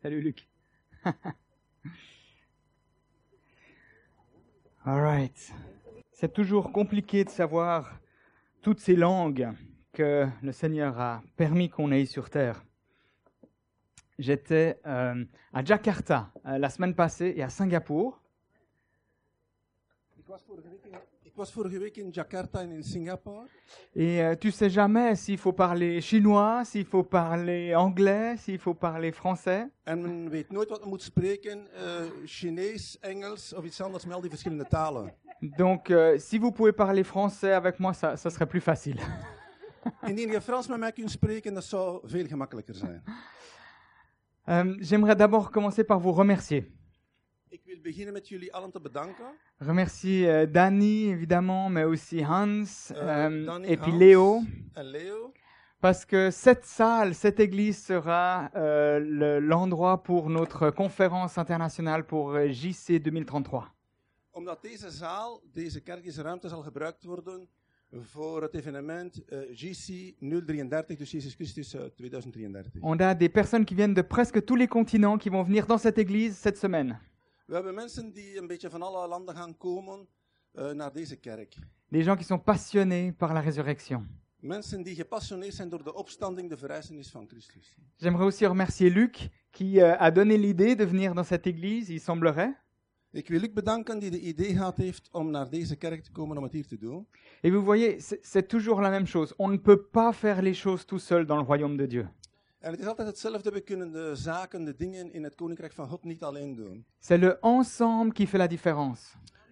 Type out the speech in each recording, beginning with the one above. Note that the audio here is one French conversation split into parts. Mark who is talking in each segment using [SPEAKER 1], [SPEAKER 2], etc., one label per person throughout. [SPEAKER 1] Salut Luc. Alright. C'est toujours compliqué de savoir toutes ces langues que le Seigneur a permis qu'on ait sur Terre. J'étais euh, à Jakarta euh, la semaine passée et à Singapour.
[SPEAKER 2] Ik was vorige week in, ik was vorige week in Jakarta en in Singapore.
[SPEAKER 1] Et euh, tu sais jamais s'il faut parler chinois, s'il faut parler anglais, s'il faut parler français.
[SPEAKER 2] En men weet nooit wat men moet spreken. eh, Chinees, Engels of iets anders, maar al die verschillende talen.
[SPEAKER 1] Donc, euh, si vous pouvez parler français avec moi, ça, ça serait plus facile.
[SPEAKER 2] Indien je Frans met mij kunt spreken, dat zou veel gemakkelijker zijn.
[SPEAKER 1] Euh, J'aimerais d'abord commencer par vous remercier.
[SPEAKER 2] Ik wil beginnen met jullie allen te bedanken.
[SPEAKER 1] Remercier euh, Danny, évidemment, mais aussi Hans
[SPEAKER 2] Eh,
[SPEAKER 1] euh,
[SPEAKER 2] Danny,
[SPEAKER 1] et puis
[SPEAKER 2] Hans
[SPEAKER 1] Léo,
[SPEAKER 2] En Leo.
[SPEAKER 1] parce que cette salle, cette église sera euh, le- l'endroit pour notre conférence internationale pour euh, JC 2033.
[SPEAKER 2] Omdat deze zaal, deze kerk, deze ruimte zal gebruikt worden voor het evenement eh, GC 033, dus Jezus Christus eh, 2033.
[SPEAKER 1] On a des personnes qui viennent de presque tous les continents qui vont venir dans cette église cette semaine.
[SPEAKER 2] We hebben mensen die een beetje van alle landen gaan komen eh, naar deze kerk.
[SPEAKER 1] Des gens qui sont passionnés par la résurrection.
[SPEAKER 2] Mensen die gepassioneerd zijn door de opstanding, de verrijzenis van Christus.
[SPEAKER 1] J'aimerais aussi remercier Luc qui euh, a donné l'idée de venir dans cette église, il semblerait.
[SPEAKER 2] Ik wil Luc bedanken die de idee gehad heeft om naar deze kerk te komen om het hier te doen.
[SPEAKER 1] Et vous voyez, c'est c'est toujours la même chose. On ne peut pas faire les choses tout seul dans le royaume de Dieu.
[SPEAKER 2] En het is altijd hetzelfde, we kunnen de zaken, de dingen in het Koninkrijk van God niet alleen doen.
[SPEAKER 1] C'est le ensemble qui fait la différence.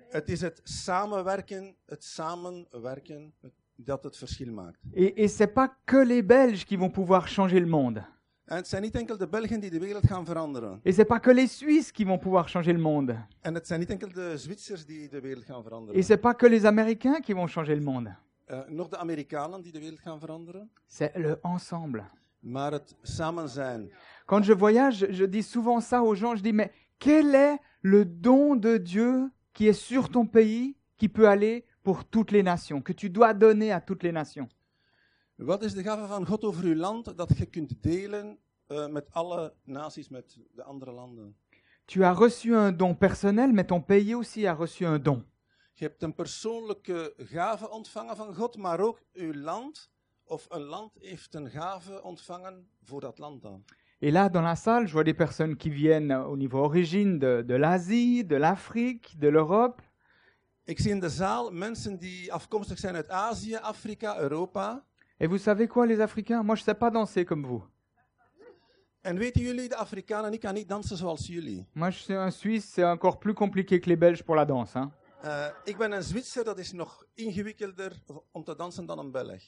[SPEAKER 2] Het is het samenwerken, het samenwerken dat het verschil maakt.
[SPEAKER 1] Et, et c'est pas que les Belges qui vont pouvoir changer le monde.
[SPEAKER 2] En het zijn niet enkel de Belgen die de wereld gaan veranderen.
[SPEAKER 1] Et c'est pas que les Suisses qui vont pouvoir changer le monde.
[SPEAKER 2] En het zijn niet enkel de Zwitsers die de wereld gaan veranderen.
[SPEAKER 1] Et c'est pas que les Américains qui vont changer le monde.
[SPEAKER 2] Eh, nog de Amerikanen die de wereld gaan veranderen.
[SPEAKER 1] C'est le ensemble.
[SPEAKER 2] Maar het samen zijn.
[SPEAKER 1] Quand je voyage, je dis souvent ça aux gens, je dis, mais quel est le don de Dieu qui est sur ton pays, qui peut aller pour toutes les nations, que tu dois donner à toutes les nations
[SPEAKER 2] Wat is de gave van God over uw land dat je kunt delen eh, met alle naties, met de andere landen?
[SPEAKER 1] Tu as reçu un don personnel, mais ton pays aussi a reçu un don.
[SPEAKER 2] Je hebt een persoonlijke gave ontvangen van God, maar ook uw land of een land heeft een gave ontvangen voor dat land dan.
[SPEAKER 1] Et là, dans la salle, je vois des personnes qui viennent au niveau origine de, de l'Asie, de l'Afrique, de l'Europe.
[SPEAKER 2] Ik zie in de zaal mensen die afkomstig zijn uit Azië, Afrika, Europa.
[SPEAKER 1] Et vous savez quoi, les Africains Moi, je ne sais pas danser comme vous.
[SPEAKER 2] En weten jullie, de Afrikanen, ik kan niet dansen zoals jullie.
[SPEAKER 1] Moi, je suis un Suisse, c'est encore plus compliqué que les Belges pour la danse. hein.
[SPEAKER 2] Eh, ik ben een Zwitser, dat is nog ingewikkelder om te dansen dan een Belg.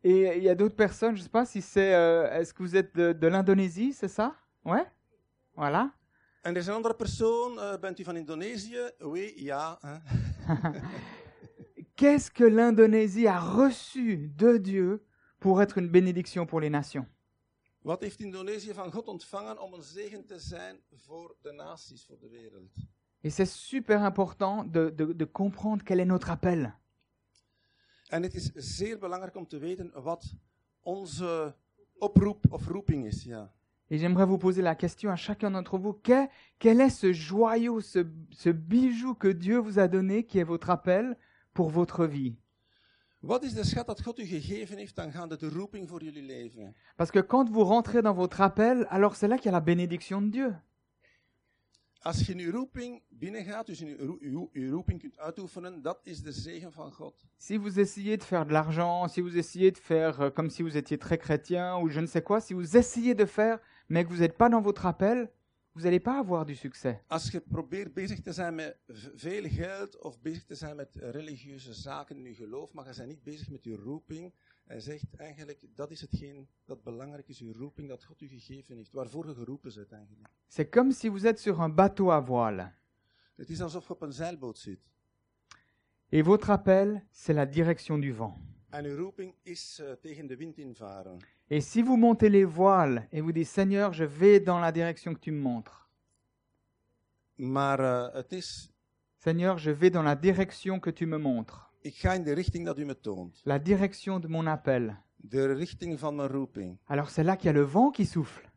[SPEAKER 1] Et il y a d'autres personnes, je ne sais pas si c'est. euh, Est-ce que vous êtes de, de l'Indonésie, c'est ça Ouais Voilà.
[SPEAKER 2] En er is een andere persoon, eh, bent u van Indonesië? Oui, ja. hè.
[SPEAKER 1] Qu'est-ce que l'Indonésie a reçu de Dieu pour être une bénédiction pour les nations
[SPEAKER 2] Wat heeft Indonesië van God ontvangen om een zegen te zijn voor de naties, voor de wereld?
[SPEAKER 1] Et c'est super important de, de- de comprendre quel est notre appel.
[SPEAKER 2] En het is zeer belangrijk om te weten wat onze oproep of roeping is. Ja.
[SPEAKER 1] Et j'aimerais vous poser la question à chacun d'entre vous qu'est- quel est ce joyau, ce, ce bijou que Dieu vous a donné qui est votre appel pour votre vie
[SPEAKER 2] Wat is de schat dat God u gegeven heeft aangaande de roeping voor jullie leven?
[SPEAKER 1] Parce que quand vous rentrez dans votre appel, alors c'est là qu'il y a la bénédiction de Dieu.
[SPEAKER 2] Als je in uw roeping binnengaat, dus in uw, roe- uw, uw roeping kunt uitoefenen, dat is de zegen van God.
[SPEAKER 1] Si vous essayez de faire de l'argent, si vous essayez de faire euh, comme si vous étiez très chrétien ou je ne sais quoi, si vous essayez de faire mais que vous n'êtes pas dans votre appel, vous n'allez pas avoir du succès.
[SPEAKER 2] Als je probeert bezig te zijn met v- veel geld of bezig te zijn met eh, religieuze zaken in uw geloof, maar je bent niet bezig met uw roeping, hij zegt eigenlijk dat is hetgeen dat belangrijk is, uw roeping dat God u gegeven heeft, waarvoor je geroepen bent eigenlijk.
[SPEAKER 1] C'est comme si vous êtes sur un bateau à voile.
[SPEAKER 2] Het is alsof je op een zeilboot zit.
[SPEAKER 1] Et votre appel, c'est la direction du vent.
[SPEAKER 2] En uw roeping is eh, tegen de wind invaren.
[SPEAKER 1] Et si vous montez les voiles et vous dites Seigneur, je vais dans la direction que tu me montres.
[SPEAKER 2] Maar eh, het is,
[SPEAKER 1] Seigneur, je vais dans la direction que tu me montres.
[SPEAKER 2] ik ga in de richting dat u me toont.
[SPEAKER 1] La direction de mon appel.
[SPEAKER 2] De richting van mijn roeping.
[SPEAKER 1] Alors c'est là qu'il y a le vent qui souffle.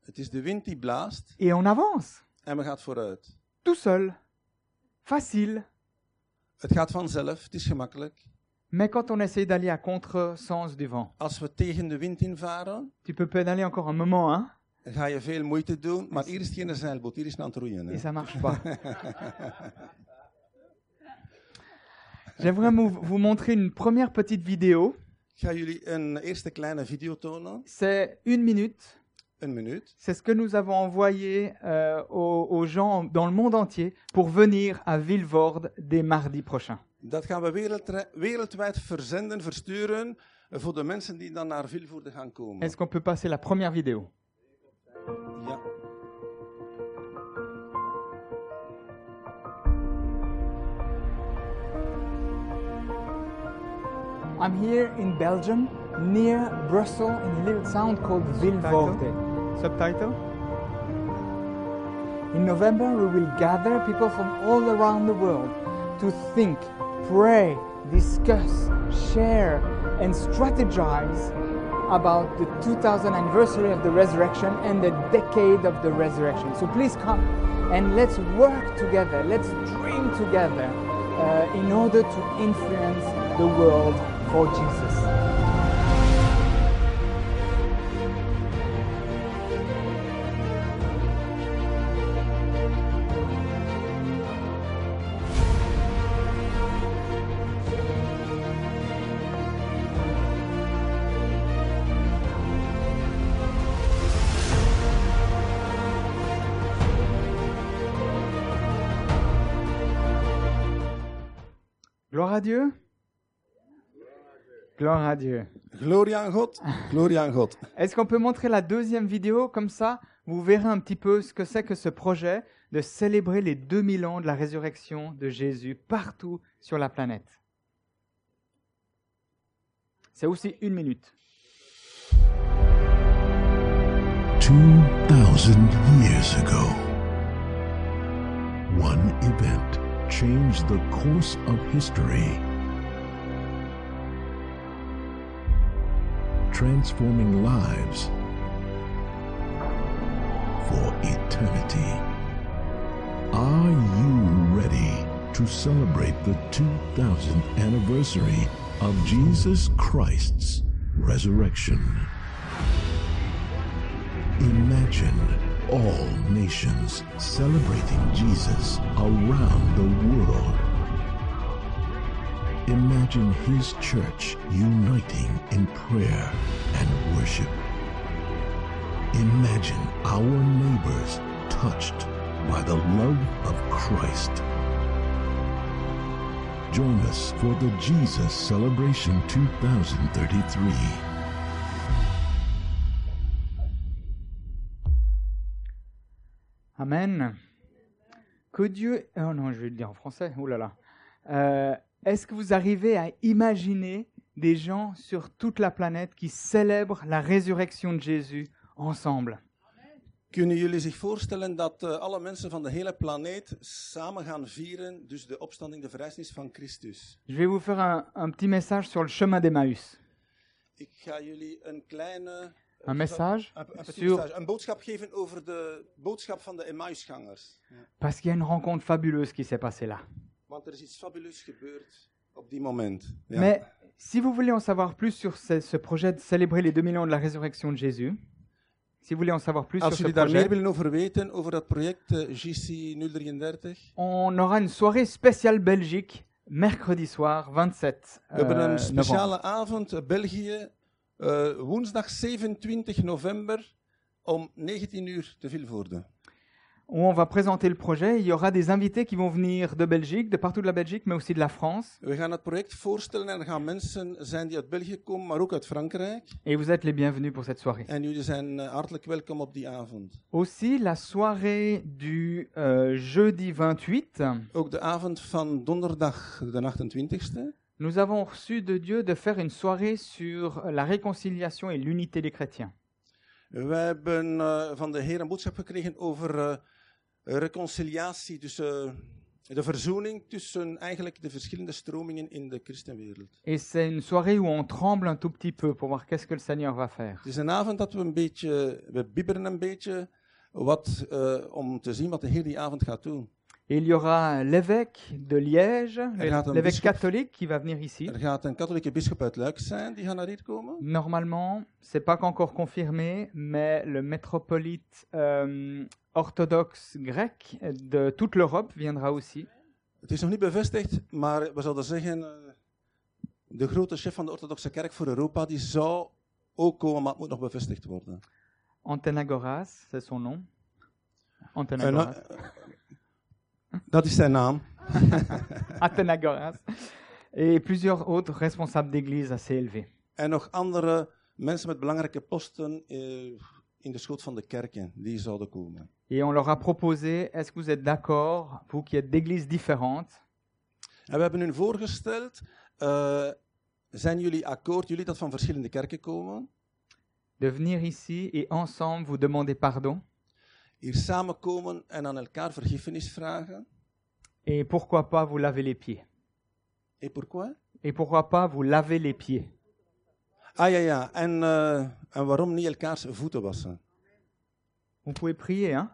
[SPEAKER 2] Het is de wind die blaast
[SPEAKER 1] et on avance.
[SPEAKER 2] en we gaan vooruit.
[SPEAKER 1] Tout seul. Facile.
[SPEAKER 2] Het gaat vanzelf, het is gemakkelijk.
[SPEAKER 1] Mais quand on essaie d'aller à contre-sens du vent,
[SPEAKER 2] Als we tegen de wind invaren,
[SPEAKER 1] tu peux pédaler encore un moment, hein,
[SPEAKER 2] dan ga je veel moeite doen. Maar hier is het geen zeilboot, hier is het aan het roeien.
[SPEAKER 1] et
[SPEAKER 2] Hè.
[SPEAKER 1] ça marche pas. J'aimerais mou- vous montrer une première petite vidéo.
[SPEAKER 2] Ik ga jullie een eerste kleine video tonen.
[SPEAKER 1] C'est une minute.
[SPEAKER 2] Een minuut.
[SPEAKER 1] C'est ce que nous avons envoyé euh, aux, aux gens dans le monde entier pour venir à Villevorde dès mardi prochain.
[SPEAKER 2] Dat gaan we wereldre- wereldwijd verzenden, versturen. eh, Voor de mensen die dan naar Vilvoorde gaan komen.
[SPEAKER 1] Est-ce qu'on peut passer la première vidéo
[SPEAKER 2] Ja.
[SPEAKER 3] I'm here in Belgium, near Brussels, in a little town called Vilvoorde.
[SPEAKER 1] Subtitle
[SPEAKER 3] In November, we will gather people from all around the world to think, pray, discuss, share, and strategize about the 2000 anniversary of the resurrection and the decade of the resurrection. So please come and let's work together, let's dream together uh, in order to influence the world for Jesus.
[SPEAKER 1] Gloire à Dieu Gloire à Dieu.
[SPEAKER 2] Gloria aan God. Gloria aan God.
[SPEAKER 1] Est-ce qu'on peut montrer la deuxième vidéo Comme ça, vous verrez un petit peu ce que c'est que ce projet de célébrer les 2000 ans de la résurrection de Jésus partout sur la planète. C'est aussi une minute.
[SPEAKER 4] 2,000 years ago, one event changed the course of history, transforming lives for eternity. Are you ready to celebrate the 2000th anniversary of Jesus Christ's resurrection? Imagine all nations celebrating Jesus around the world. Imagine his church uniting in prayer and worship. Imagine our neighbors touched by the love of Christ. Join us for the Jesus Celebration 2033.
[SPEAKER 1] Amen. Que Dieu... Oh non, je vais le dire en français. Oh là là. Euh, Est-ce que vous arrivez à imaginer des gens sur toute la planète qui célèbrent la résurrection de Jésus ensemble
[SPEAKER 2] Kunnen jullie zich voorstellen dat eh, alle mensen van de hele planeet samen gaan vieren, dus de opstanding, de verrijzenis van Christus?
[SPEAKER 1] Je vais vous faire un, un petit message sur le chemin d'Emmaüs.
[SPEAKER 2] Ik ga jullie een kleine...
[SPEAKER 1] Un message
[SPEAKER 2] Een, een, petit
[SPEAKER 1] sur...
[SPEAKER 2] message, een boodschap geven over de boodschap van de Emmausgangers.
[SPEAKER 1] Parce qu'il y a une rencontre fabuleuse qui s'est passée là.
[SPEAKER 2] Want er is iets fabuleus gebeurd op die moment. Ja.
[SPEAKER 1] Mais si vous voulez en savoir plus sur ce, ce projet de célébrer les 2000 ans de la résurrection de Jésus, si vous voulez en savoir plus sur
[SPEAKER 2] Als
[SPEAKER 1] ce
[SPEAKER 2] jullie daar meer
[SPEAKER 1] projet,
[SPEAKER 2] willen over weten, over dat project eh, GC033,
[SPEAKER 1] on aura une soirée spéciale Belgique mercredi soir 27
[SPEAKER 2] We hebben
[SPEAKER 1] euh,
[SPEAKER 2] een
[SPEAKER 1] novembre.
[SPEAKER 2] speciale avond, eh, België, eh, woensdag 27 november om 19 uur te Vilvoorde.
[SPEAKER 1] où on va présenter le projet. Il y aura des invités qui vont venir de Belgique, de partout de la Belgique, mais aussi de la France.
[SPEAKER 2] We gaan het project voorstellen en er gaan mensen zijn die uit België komen, maar ook uit Frankrijk.
[SPEAKER 1] Et vous êtes les bienvenus pour cette soirée.
[SPEAKER 2] En jullie zijn eh, hartelijk welkom op die avond.
[SPEAKER 1] Aussi, la soirée du euh, jeudi 28,
[SPEAKER 2] Ook de avond van donderdag, de 28e,
[SPEAKER 1] nous avons reçu de Dieu de faire une soirée sur la réconciliation et l'unité des chrétiens.
[SPEAKER 2] we hebben eh, van de Heer een boodschap gekregen over eh, reconciliatie tussen De verzoening tussen eigenlijk de verschillende stromingen in de christenwereld.
[SPEAKER 1] Et c'est une soirée où on tremble un tout petit peu pour voir qu'est-ce que le Seigneur va faire.
[SPEAKER 2] Het is een avond dat we een beetje, we bibberen een beetje wat, eh, om te zien wat de Heer die avond gaat doen.
[SPEAKER 1] Et il y aura l'évêque de Liège,
[SPEAKER 2] gaat een
[SPEAKER 1] l'évêque
[SPEAKER 2] bisschop.
[SPEAKER 1] catholique qui va venir ici.
[SPEAKER 2] Er gaat een katholieke bisschop uit Luik zijn, die gaat naar hier komen.
[SPEAKER 1] Normalement, c'est pas encore confirmé, mais le métropolite euh, orthodoxe grec de toute l'Europe viendra aussi.
[SPEAKER 2] Het is nog niet bevestigd, maar we zouden zeggen, eh, de grote chef van de orthodoxe kerk voor Europa, die zou ook komen, maar het moet nog bevestigd worden.
[SPEAKER 1] Antenagoras, c'est son nom.
[SPEAKER 2] En,
[SPEAKER 1] Antenagoras.
[SPEAKER 2] eh, dat is zijn naam.
[SPEAKER 1] Athénagoras. Et plusieurs autres responsables d'églises assez élevés.
[SPEAKER 2] En nog andere mensen met belangrijke posten eh, in de schoot van de kerken, die zouden komen.
[SPEAKER 1] Et on leur a proposé, est-ce que vous êtes d'accord, vous qui êtes d'églises différentes,
[SPEAKER 2] En we hebben hun voorgesteld, eh, zijn jullie akkoord, jullie dat van verschillende kerken komen,
[SPEAKER 1] de venir ici et ensemble vous demander pardon
[SPEAKER 2] hier samenkomen en aan elkaar vergiffenis vragen?
[SPEAKER 1] et pourquoi pas vous laver les pieds
[SPEAKER 2] Et Eh, pourquoi?
[SPEAKER 1] Et pourquoi pas vous laver les pieds
[SPEAKER 2] Ah ja, ja. En, eh, en waarom niet elkaars voeten wassen?
[SPEAKER 1] Vous pouvez prier, hein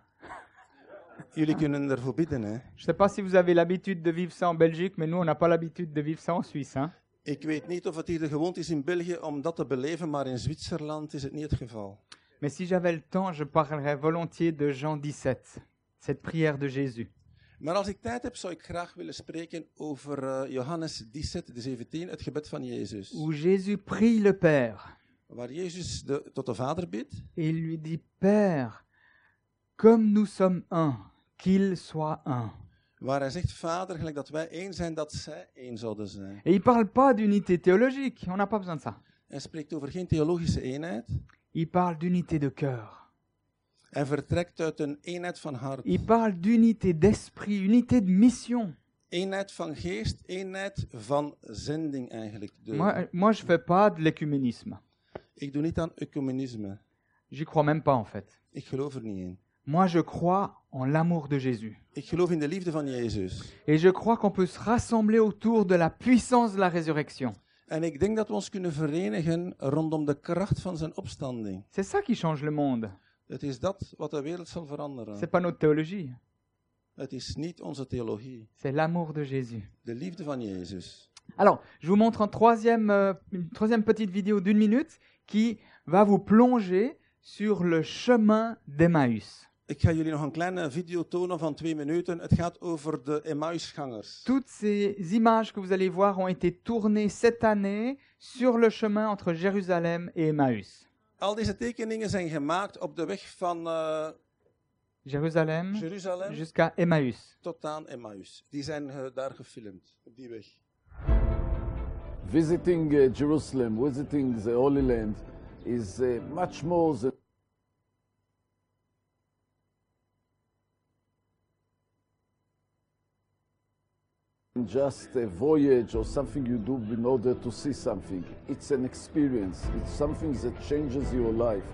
[SPEAKER 2] Jullie kunnen ervoor bidden, hè?
[SPEAKER 1] Je ne sais pas si vous avez l'habitude de vivre ça en Belgique, mais nous, on n'a pas l'habitude de vivre ça en Suisse. Hein
[SPEAKER 2] Ik weet niet of het hier de gewoonte is in België om dat te beleven, maar in Zwitserland is het niet het geval.
[SPEAKER 1] mais si j'avais le temps, je parlerais volontiers de Jean 17, cette prière de Jésus.
[SPEAKER 2] Maar als ik tijd heb, zou ik graag willen spreken over eh, Johannes 17, de 17, het gebed van Jezus.
[SPEAKER 1] Où Jésus prie le Père
[SPEAKER 2] Waar Jezus de, tot de Vader bidt.
[SPEAKER 1] et il lui dit, Père, comme nous sommes un, qu'il soit un.
[SPEAKER 2] Waar hij zegt, Vader, gelijk dat wij één zijn, dat zij één zouden zijn.
[SPEAKER 1] Et il ne parle pas d'unité théologique, on n'a pas besoin de ça.
[SPEAKER 2] Hij spreekt over geen theologische eenheid.
[SPEAKER 1] Il parle d'unité de cœur.
[SPEAKER 2] Hij vertrekt uit een eenheid van hart.
[SPEAKER 1] Il parle d'unité d'esprit, unité de mission.
[SPEAKER 2] Eenheid van geest, eenheid van zending eigenlijk. De-
[SPEAKER 1] Moi, moi je ne fais pas de l'écuménisme.
[SPEAKER 2] Ik doe niet aan ecumenisme.
[SPEAKER 1] J'y crois même pas en fait.
[SPEAKER 2] Ik geloof er niet in.
[SPEAKER 1] Moi, je crois en l'amour de Jésus.
[SPEAKER 2] Ik geloof in de liefde van Jezus.
[SPEAKER 1] Et je crois qu'on peut se rassembler autour de la puissance de la résurrection.
[SPEAKER 2] En ik denk dat we ons kunnen verenigen rondom de kracht van zijn opstanding.
[SPEAKER 1] C'est ça qui change le monde.
[SPEAKER 2] Het is dat wat de wereld zal
[SPEAKER 1] C'est
[SPEAKER 2] veranderen.
[SPEAKER 1] pas notre théologie,
[SPEAKER 2] Het is niet onze theologie.
[SPEAKER 1] c'est l'amour de Jésus.
[SPEAKER 2] De liefde van Jezus.
[SPEAKER 1] Alors, je vous montre un troisième, euh, une troisième petite vidéo d'une minute qui va vous plonger sur le chemin d'Emmaüs.
[SPEAKER 2] Ik ga jullie nog een kleine video tonen van twee minuten. Het gaat over de Emmausgangers.
[SPEAKER 1] Toutes ces images que vous allez voir ont été tournées cette année sur le chemin entre Jérusalem et Emmaüs.
[SPEAKER 2] Al deze tekeningen zijn gemaakt op de weg van eh, Mm.
[SPEAKER 1] Jérusalem
[SPEAKER 2] Jeruzalem
[SPEAKER 1] jusqu'à Emmaüs.
[SPEAKER 2] tot aan Emmaus. Die zijn eh, daar gefilmd, op die weg.
[SPEAKER 5] visiting uh, Jerusalem, visiting the Holy Land, is uh, much more than just a voyage or something you do in order to see something. It's an experience, it's something that changes your life.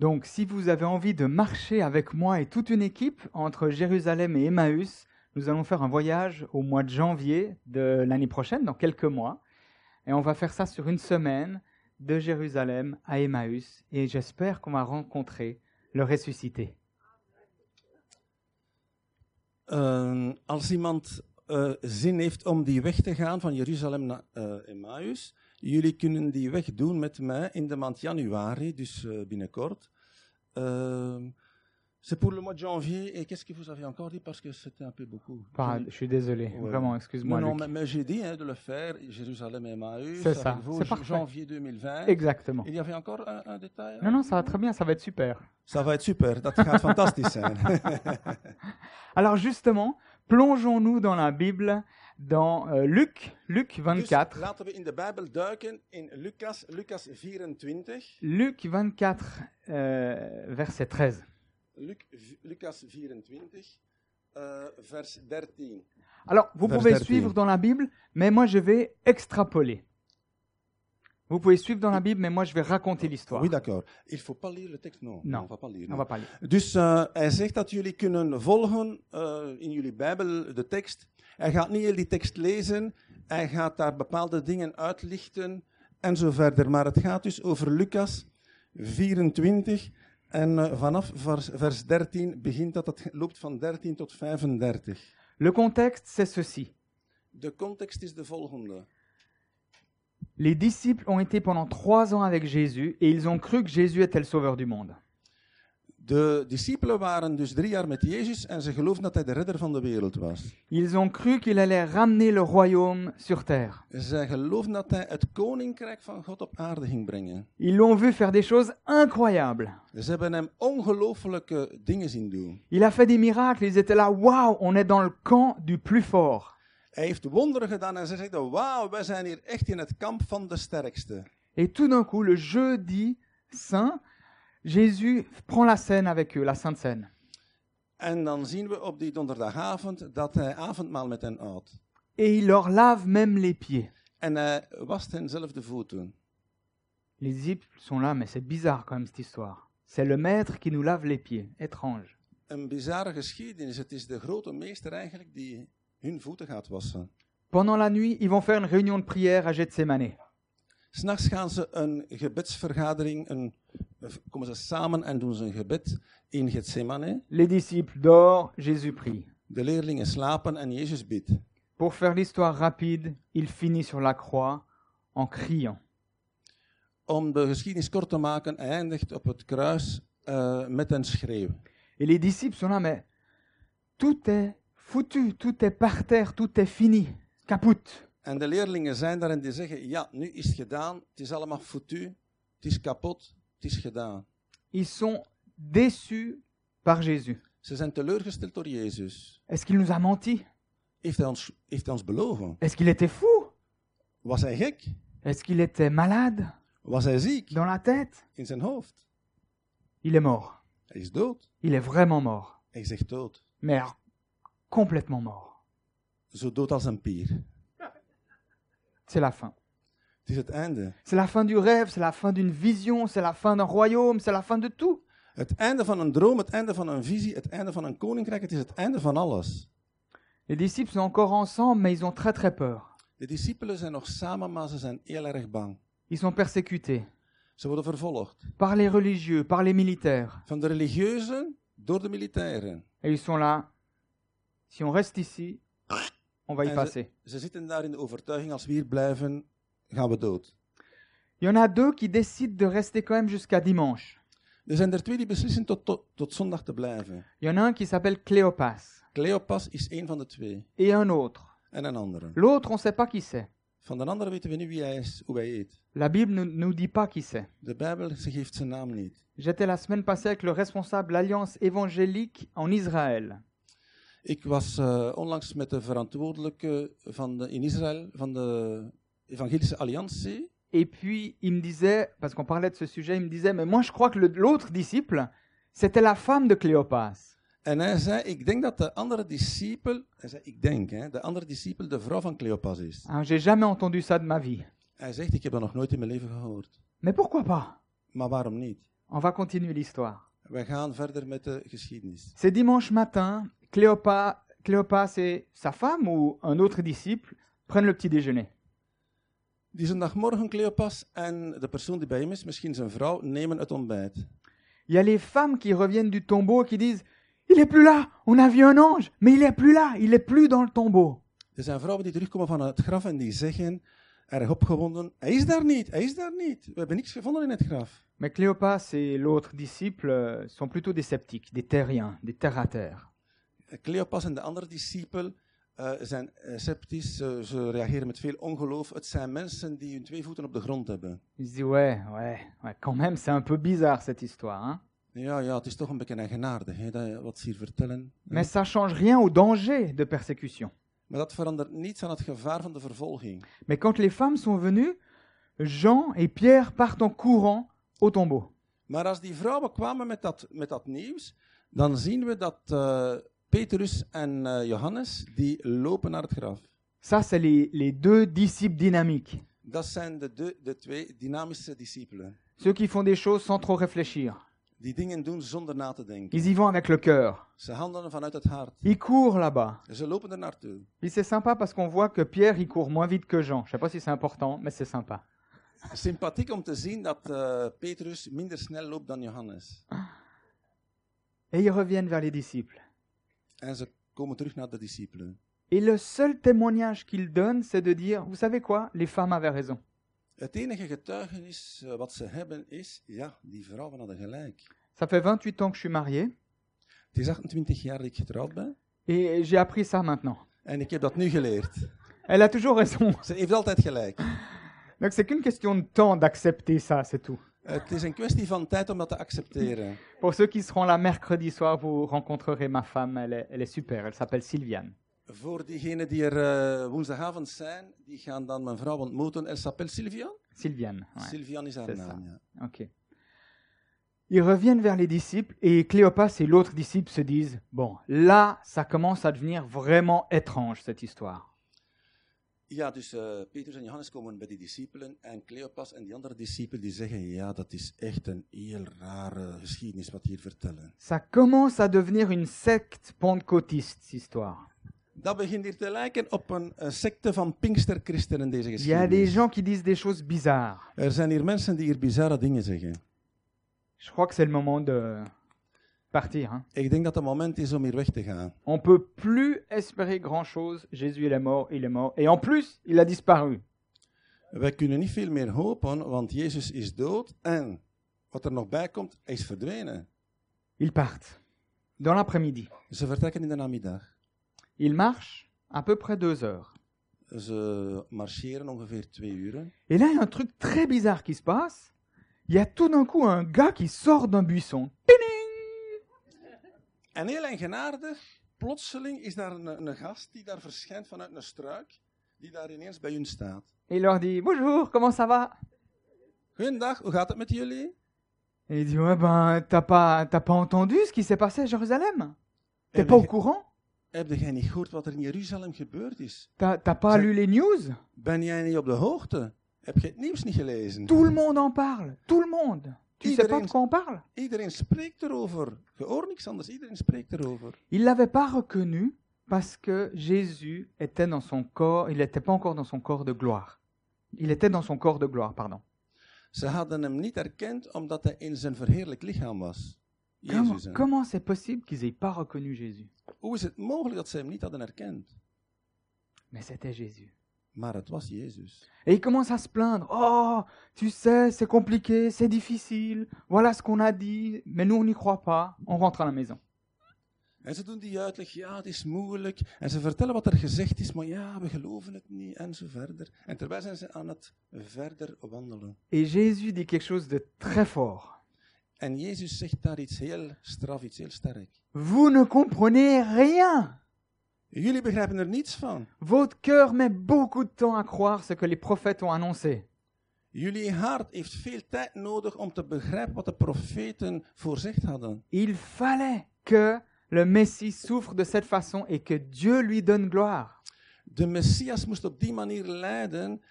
[SPEAKER 1] Donc, si vous avez envie de marcher avec moi et toute une équipe entre Jérusalem et Emmaüs, nous allons faire un voyage au mois de janvier de l'année prochaine, dans quelques mois. Et on va faire ça sur une semaine de Jérusalem à Emmaüs. Et j'espère qu'on va rencontrer le ressuscité.
[SPEAKER 2] Eh, als iemand eh, zin heeft om die weg te gaan van Jeruzalem naar eh, Emmaus, jullie kunnen die weg doen met mij in de maand januari, dus eh, binnenkort. Eh, C'est pour le mois de janvier. Et qu'est-ce que vous avez encore dit Parce que c'était un peu beaucoup.
[SPEAKER 1] Pardon, je suis désolé,
[SPEAKER 2] Ouais.
[SPEAKER 1] vraiment,
[SPEAKER 2] Non,
[SPEAKER 1] excuse-moi.
[SPEAKER 2] non,
[SPEAKER 1] Luc.
[SPEAKER 2] mais, mais j'ai dit hein, de le faire. Jérusalem et Emmaüs.
[SPEAKER 1] C'est ça,
[SPEAKER 2] avec vous,
[SPEAKER 1] c'est
[SPEAKER 2] j-
[SPEAKER 1] parfait.
[SPEAKER 2] Janvier 2020.
[SPEAKER 1] Exactement.
[SPEAKER 2] Il y avait encore un, un détail.
[SPEAKER 1] Non, non, ça va très bien, ça va être super.
[SPEAKER 2] Ça va être super. Dat gaat fantastisch zijn.
[SPEAKER 1] Alors justement, plongeons-nous dans la Bible, dans euh, Luc, Luc
[SPEAKER 2] Dus
[SPEAKER 1] 24.
[SPEAKER 2] laten we in de Bijbel duiken in Lucas, Lucas 24.
[SPEAKER 1] Luc 24, euh, verset 13.
[SPEAKER 2] Luc, Lucas 24, eh, vers 13.
[SPEAKER 1] Alors, vous
[SPEAKER 2] Vers
[SPEAKER 1] pouvez
[SPEAKER 2] 13.
[SPEAKER 1] suivre dans la Bible, mais moi je vais extrapoler. Vous pouvez suivre dans la Bible, mais moi je vais raconter l'histoire.
[SPEAKER 2] Oui, d'accord. Il faut pas lire le tekst. Non,
[SPEAKER 1] Non.
[SPEAKER 2] on va pas lire.
[SPEAKER 1] On
[SPEAKER 2] nee.
[SPEAKER 1] va pas lire.
[SPEAKER 2] Dus eh, hij zegt dat jullie kunnen volgen eh, in jullie Bijbel de tekst. Hij gaat niet heel die tekst lezen. Hij gaat daar bepaalde dingen uitlichten en zo verder. Maar het gaat dus over Lucas 24. En eh, vanaf vers, vers 13 begint dat. Het loopt van 13 tot 35.
[SPEAKER 1] Le contexte, c'est ceci.
[SPEAKER 2] De context is de volgende.
[SPEAKER 1] Les disciples ont été pendant trois ans avec Jésus et ils ont cru que Jésus était le sauveur du monde.
[SPEAKER 2] De discipelen waren dus drie jaar met Jezus en ze geloofden dat hij de redder van de wereld was.
[SPEAKER 1] Ils ont cru qu'il allait ramener le royaume sur terre.
[SPEAKER 2] Zij geloofden dat hij het koninkrijk van God op aarde ging brengen.
[SPEAKER 1] Ils l'ont vu faire des choses incroyables.
[SPEAKER 2] Ze hebben hem ongelooflijke dingen zien doen.
[SPEAKER 1] Il a fait des miracles, ils étaient là, waouh, on est dans le camp du plus fort.
[SPEAKER 2] Hij heeft wonderen gedaan en ze zeiden, wauw, wij zijn hier echt in het kamp van de sterkste.
[SPEAKER 1] Et tout d'un coup, le jeudi saint, Jésus prend la scène avec eux, la Sainte Seine.
[SPEAKER 2] En dan zien we op die donderdagavond dat hij avondmaal met hen houdt.
[SPEAKER 1] Et il leur lave même les pieds.
[SPEAKER 2] En hij wast hen zelf de voeten.
[SPEAKER 1] Les disciples sont là, mais c'est bizarre quand même cette histoire. C'est le maître qui nous lave les pieds, étrange.
[SPEAKER 2] Een bizarre geschiedenis. Het is de grote meester eigenlijk die hun voeten gaat wassen.
[SPEAKER 1] Pendant la nuit, ils vont faire une réunion de prière à Gethsemane.
[SPEAKER 2] S'nachts gaan ze een gebedsvergadering, een, eh, komen ze samen en doen ze een gebed in Gethsemane.
[SPEAKER 1] Les disciples dorment, Jésus prie.
[SPEAKER 2] De leerlingen slapen en Jezus bidt.
[SPEAKER 1] Pour faire l'histoire rapide, il finit sur la croix en criant.
[SPEAKER 2] Om de geschiedenis kort te maken, hij eindigt op het kruis eh, met een schreeuw.
[SPEAKER 1] Et les disciples sont là, mais tout est foutu, tout est par terre, tout est fini, caput.
[SPEAKER 2] En de leerlingen zijn daar en die zeggen, ja, nu is het gedaan, het is allemaal foutu, het is kapot, het is gedaan.
[SPEAKER 1] Ils sont déçus par Jésus.
[SPEAKER 2] Ze zijn teleurgesteld door Jezus.
[SPEAKER 1] Est-ce qu'il nous a menti
[SPEAKER 2] Heeft hij ons, heeft hij ons belogen?
[SPEAKER 1] Est-ce qu'il était fou
[SPEAKER 2] Was hij gek?
[SPEAKER 1] Est-ce qu'il était malade
[SPEAKER 2] Was hij ziek
[SPEAKER 1] dans la tête
[SPEAKER 2] in zijn hoofd?
[SPEAKER 1] Il est mort.
[SPEAKER 2] Hij is dood.
[SPEAKER 1] Il est vraiment mort.
[SPEAKER 2] Hij zegt dood.
[SPEAKER 1] Mais alors, complètement mort.
[SPEAKER 2] Zo dood als een pier.
[SPEAKER 1] C'est la fin.
[SPEAKER 2] Het is het einde.
[SPEAKER 1] C'est la fin du rêve, c'est la fin d'une vision, c'est la fin d'un royaume, c'est la fin de tout.
[SPEAKER 2] Het einde van een droom, het einde van een visie, het einde van een koninkrijk, het is het einde van alles.
[SPEAKER 1] Les disciples sont encore ensemble, mais ils ont très très peur.
[SPEAKER 2] De discipelen zijn nog samen, maar ze zijn heel erg bang.
[SPEAKER 1] Ils sont persécutés
[SPEAKER 2] Ze worden vervolgd.
[SPEAKER 1] par les religieux, par les militaires.
[SPEAKER 2] Van de religieuzen door de militairen.
[SPEAKER 1] Et ils sont là. Si on reste ici, on va y
[SPEAKER 2] Ah,
[SPEAKER 1] passer.
[SPEAKER 2] Ze zitten daar in de overtuiging, als we hier blijven, gaan we dood.
[SPEAKER 1] Il y en a deux qui décident de rester quand même jusqu'à dimanche.
[SPEAKER 2] Er zijn er twee die beslissen tot, tot, tot zondag te blijven.
[SPEAKER 1] Il y en a un qui s'appelle Cléopas
[SPEAKER 2] Cleopas is één van de twee.
[SPEAKER 1] et un autre.
[SPEAKER 2] En een andere.
[SPEAKER 1] L'autre, on ne sait pas qui c'est.
[SPEAKER 2] Van de andere weten we nu wie hij is, hoe hij heet.
[SPEAKER 1] La Bible ne nous dit pas qui c'est.
[SPEAKER 2] De Bijbel ze geeft zijn naam niet.
[SPEAKER 1] J'étais la semaine passée avec le responsable de l'Alliance évangélique en Israël.
[SPEAKER 2] Ik was eh, onlangs met de verantwoordelijke van de, in Israël van de Evangelische Alliantie.
[SPEAKER 1] Et puis, il me disait, parce qu'on parlait de ce sujet, il me disait, mais moi je crois que le- l'autre disciple, c'était la femme de Cléopas.
[SPEAKER 2] En hij zei, ik denk dat de andere discipel, hij zei, ik denk, hè, de andere discipel de vrouw van Cleopas is.
[SPEAKER 1] Hein, J'ai jamais entendu ça de ma vie.
[SPEAKER 2] Hij zegt, ik heb dat nog nooit in mijn leven gehoord.
[SPEAKER 1] Mais pourquoi pas
[SPEAKER 2] Maar waarom niet?
[SPEAKER 1] On va continuer l'histoire.
[SPEAKER 2] Wij gaan verder met de geschiedenis.
[SPEAKER 1] C'est dimanche matin, Cléopas, Cléopas et sa femme ou un autre disciple prennent le petit déjeuner.
[SPEAKER 2] Die zondagmorgen Cleopas en de persoon die bij hem is, misschien zijn vrouw, nemen het ontbijt.
[SPEAKER 1] Il y a les femmes qui reviennent du tombeau et qui disent, il est plus là, on a vu un ange, mais il est plus là, il est plus dans le tombeau.
[SPEAKER 2] Er zijn vrouwen die terugkomen van het graf en die zeggen, erg opgewonden. Hij is daar niet, hij is daar niet. We hebben niks gevonden in het graf.
[SPEAKER 1] Mais Cléopas et l'autre disciple euh, sont plutôt des sceptiques, des terriens, des terre-à-terre.
[SPEAKER 2] Eh, Cleopas en de andere discipel eh, zijn eh, sceptisch. eh, ze reageren met veel ongeloof. Het zijn mensen die hun twee voeten op de grond hebben.
[SPEAKER 1] Ils se disent ouais, ouais, ouais, quand même, c'est un peu bizarre cette histoire. hein.
[SPEAKER 2] Ja, ja, het is toch een beetje eigenaardig hè, dat, wat ze hier vertellen.
[SPEAKER 1] Mais ça change rien au danger de persécution.
[SPEAKER 2] Maar dat verandert niets aan het gevaar van de vervolging.
[SPEAKER 1] Mais quand les femmes sont venues, Jean et Pierre partent en courant au tombeau.
[SPEAKER 2] Maar als die vrouwen kwamen met dat, met dat nieuws, dan zien we dat eh, Petrus en eh, Johannes, die lopen naar het graf.
[SPEAKER 1] Ça, c'est les, les deux disciples dynamiques,
[SPEAKER 2] Dat zijn de, de, de twee dynamische discipelen.
[SPEAKER 1] ceux qui font des choses sans trop réfléchir.
[SPEAKER 2] Die dingen doen zonder na te denken.
[SPEAKER 1] Ils y vont avec le cœur.
[SPEAKER 2] Ze handelen vanuit het hart.
[SPEAKER 1] Ils courent là-bas.
[SPEAKER 2] Ze lopen er naartoe.
[SPEAKER 1] Puis c'est sympa parce qu'on voit que Pierre, il court moins vite que Jean. Je sais pas si c'est important, mais c'est sympa.
[SPEAKER 2] Sympathiek om te zien dat eh, Petrus minder snel loopt dan Johannes.
[SPEAKER 1] Et ils reviennent vers les disciples.
[SPEAKER 2] En ze komen terug naar de discipelen.
[SPEAKER 1] Et le seul témoignage qu'ils donnent, c'est de dire, vous savez quoi, les femmes avaient raison.
[SPEAKER 2] Het enige getuigenis eh, wat ze hebben is, ja, die vrouwen hadden gelijk.
[SPEAKER 1] Ça fait 28 ans que je suis marié
[SPEAKER 2] Het is 28 jaar dat ik getrouwd ben
[SPEAKER 1] et j'ai appris ça maintenant.
[SPEAKER 2] en ik heb dat nu geleerd.
[SPEAKER 1] Elle a toujours raison.
[SPEAKER 2] Ze heeft altijd gelijk.
[SPEAKER 1] Donc c'est qu'une question de temps d'accepter ça, c'est tout.
[SPEAKER 2] Het is een kwestie van tijd om dat te accepteren.
[SPEAKER 1] Pour ceux qui seront là mercredi soir, vous rencontrerez ma femme, elle est, elle est super, elle s'appelle Sylviane.
[SPEAKER 2] Voor diegenen die er eh, woensdagavond zijn, die gaan dan mijn vrouw ontmoeten. Elle s'appelle Sylvian?
[SPEAKER 1] Sylviane, ouais,
[SPEAKER 2] Sylvian is haar
[SPEAKER 1] c'est ça.
[SPEAKER 2] naam, ja.
[SPEAKER 1] ok. Ils reviennent vers les disciples et Cléopas et l'autre disciple se disent, bon, là, ça commence à devenir vraiment étrange cette histoire.
[SPEAKER 2] Ja, dus eh, Petrus en Johannes komen bij die discipelen en Cleopas en die andere discipelen die zeggen, ja, dat is echt een heel rare geschiedenis wat hier vertellen.
[SPEAKER 1] Ça commence à devenir une secte pentecôtiste, cette histoire.
[SPEAKER 2] Dat begint hier te lijken op een eh, secte van Pinksterchristenen, deze
[SPEAKER 1] Il y a des
[SPEAKER 2] geschiedenis.
[SPEAKER 1] gens qui disent des choses bizarres.
[SPEAKER 2] Er zijn hier mensen die hier bizarre dingen zeggen.
[SPEAKER 1] Je crois que c'est le moment de partir. Hein.
[SPEAKER 2] Ik denk dat het moment is om hier weg te gaan.
[SPEAKER 1] On peut plus espérer grand-chose. Jésus, il est mort, il est mort. Et en plus, il a disparu.
[SPEAKER 2] Wij kunnen niet veel meer hopen, want Jezus is dood en wat er nog bij komt, hij is verdwenen.
[SPEAKER 1] Ils partent. Dans l'après-midi.
[SPEAKER 2] Ze vertrekken in de namiddag.
[SPEAKER 1] Ils marchent à peu près deux heures.
[SPEAKER 2] Ze marcheren ongeveer twee uren.
[SPEAKER 1] Et là, il y a un truc très bizarre qui se passe. Il y a tout d'un coup un gars qui sort d'un buisson.
[SPEAKER 2] En heel eigenaardig, plotseling is daar een, een gast die daar verschijnt vanuit een struik, die daar ineens bij hun staat.
[SPEAKER 1] Et il leur dit Bonjour, comment ça va
[SPEAKER 2] Goedendag, hoe gaat het met jullie?
[SPEAKER 1] Et il dit Ouais, ben, t'as pas, t'as pas entendu ce qui s'est passé à Jérusalem T'es
[SPEAKER 2] Heb
[SPEAKER 1] pas au
[SPEAKER 2] je-
[SPEAKER 1] courant
[SPEAKER 2] Heb jij niet gehoord wat er in Jeruzalem gebeurd is?
[SPEAKER 1] T'as t'as pas
[SPEAKER 2] Ça-
[SPEAKER 1] lu les news
[SPEAKER 2] Ben jij niet op de hoogte? Heb je het nieuws niet gelezen?
[SPEAKER 1] Tout le monde en parle. Tout le monde. Tu sais pas de
[SPEAKER 2] Iedereen-
[SPEAKER 1] quoi on parle
[SPEAKER 2] Iedereen spreekt erover. Je hoort niks anders, iedereen spreekt erover.
[SPEAKER 1] Il l'avait pas reconnu parce que Jésus était dans son corps, il n'était pas encore dans son corps de gloire. Il était dans son corps de gloire, pardon.
[SPEAKER 2] Ze hadden hem niet herkend omdat hij in zijn verheerlijk lichaam was.
[SPEAKER 1] Comment,
[SPEAKER 2] Jezus. hè.
[SPEAKER 1] comment c'est possible qu'ils aient pas reconnu Jésus
[SPEAKER 2] Hoe is het mogelijk dat ze hem niet hadden herkend?
[SPEAKER 1] Mais c'était Jésus.
[SPEAKER 2] Maar het was Jezus.
[SPEAKER 1] Et il commence à se plaindre. Oh, tu sais, c'est compliqué, c'est difficile. Voilà ce qu'on a dit, mais nous on n'y croit pas. On rentre à la maison.
[SPEAKER 2] En ze doen die uitleg, ja, het is moeilijk. En ze vertellen wat er gezegd is, maar ja, we geloven het niet, en zo verder. En terwijl zijn ze aan het verder wandelen.
[SPEAKER 1] Et Jésus dit quelque chose de très fort.
[SPEAKER 2] En Jezus zegt daar iets heel straf, iets heel sterk.
[SPEAKER 1] Vous ne comprenez rien.
[SPEAKER 2] Jullie begrijpen er niets van.
[SPEAKER 1] Votre cœur met beaucoup de temps à croire ce que les prophètes ont annoncé.
[SPEAKER 2] Jullie hart heeft veel tijd nodig om te begrijpen wat de profeten voorzegd hadden.
[SPEAKER 1] Il fallait que le Messie souffre de cette façon et que Dieu lui donne gloire.
[SPEAKER 2] De Messias moest op die manier lijden,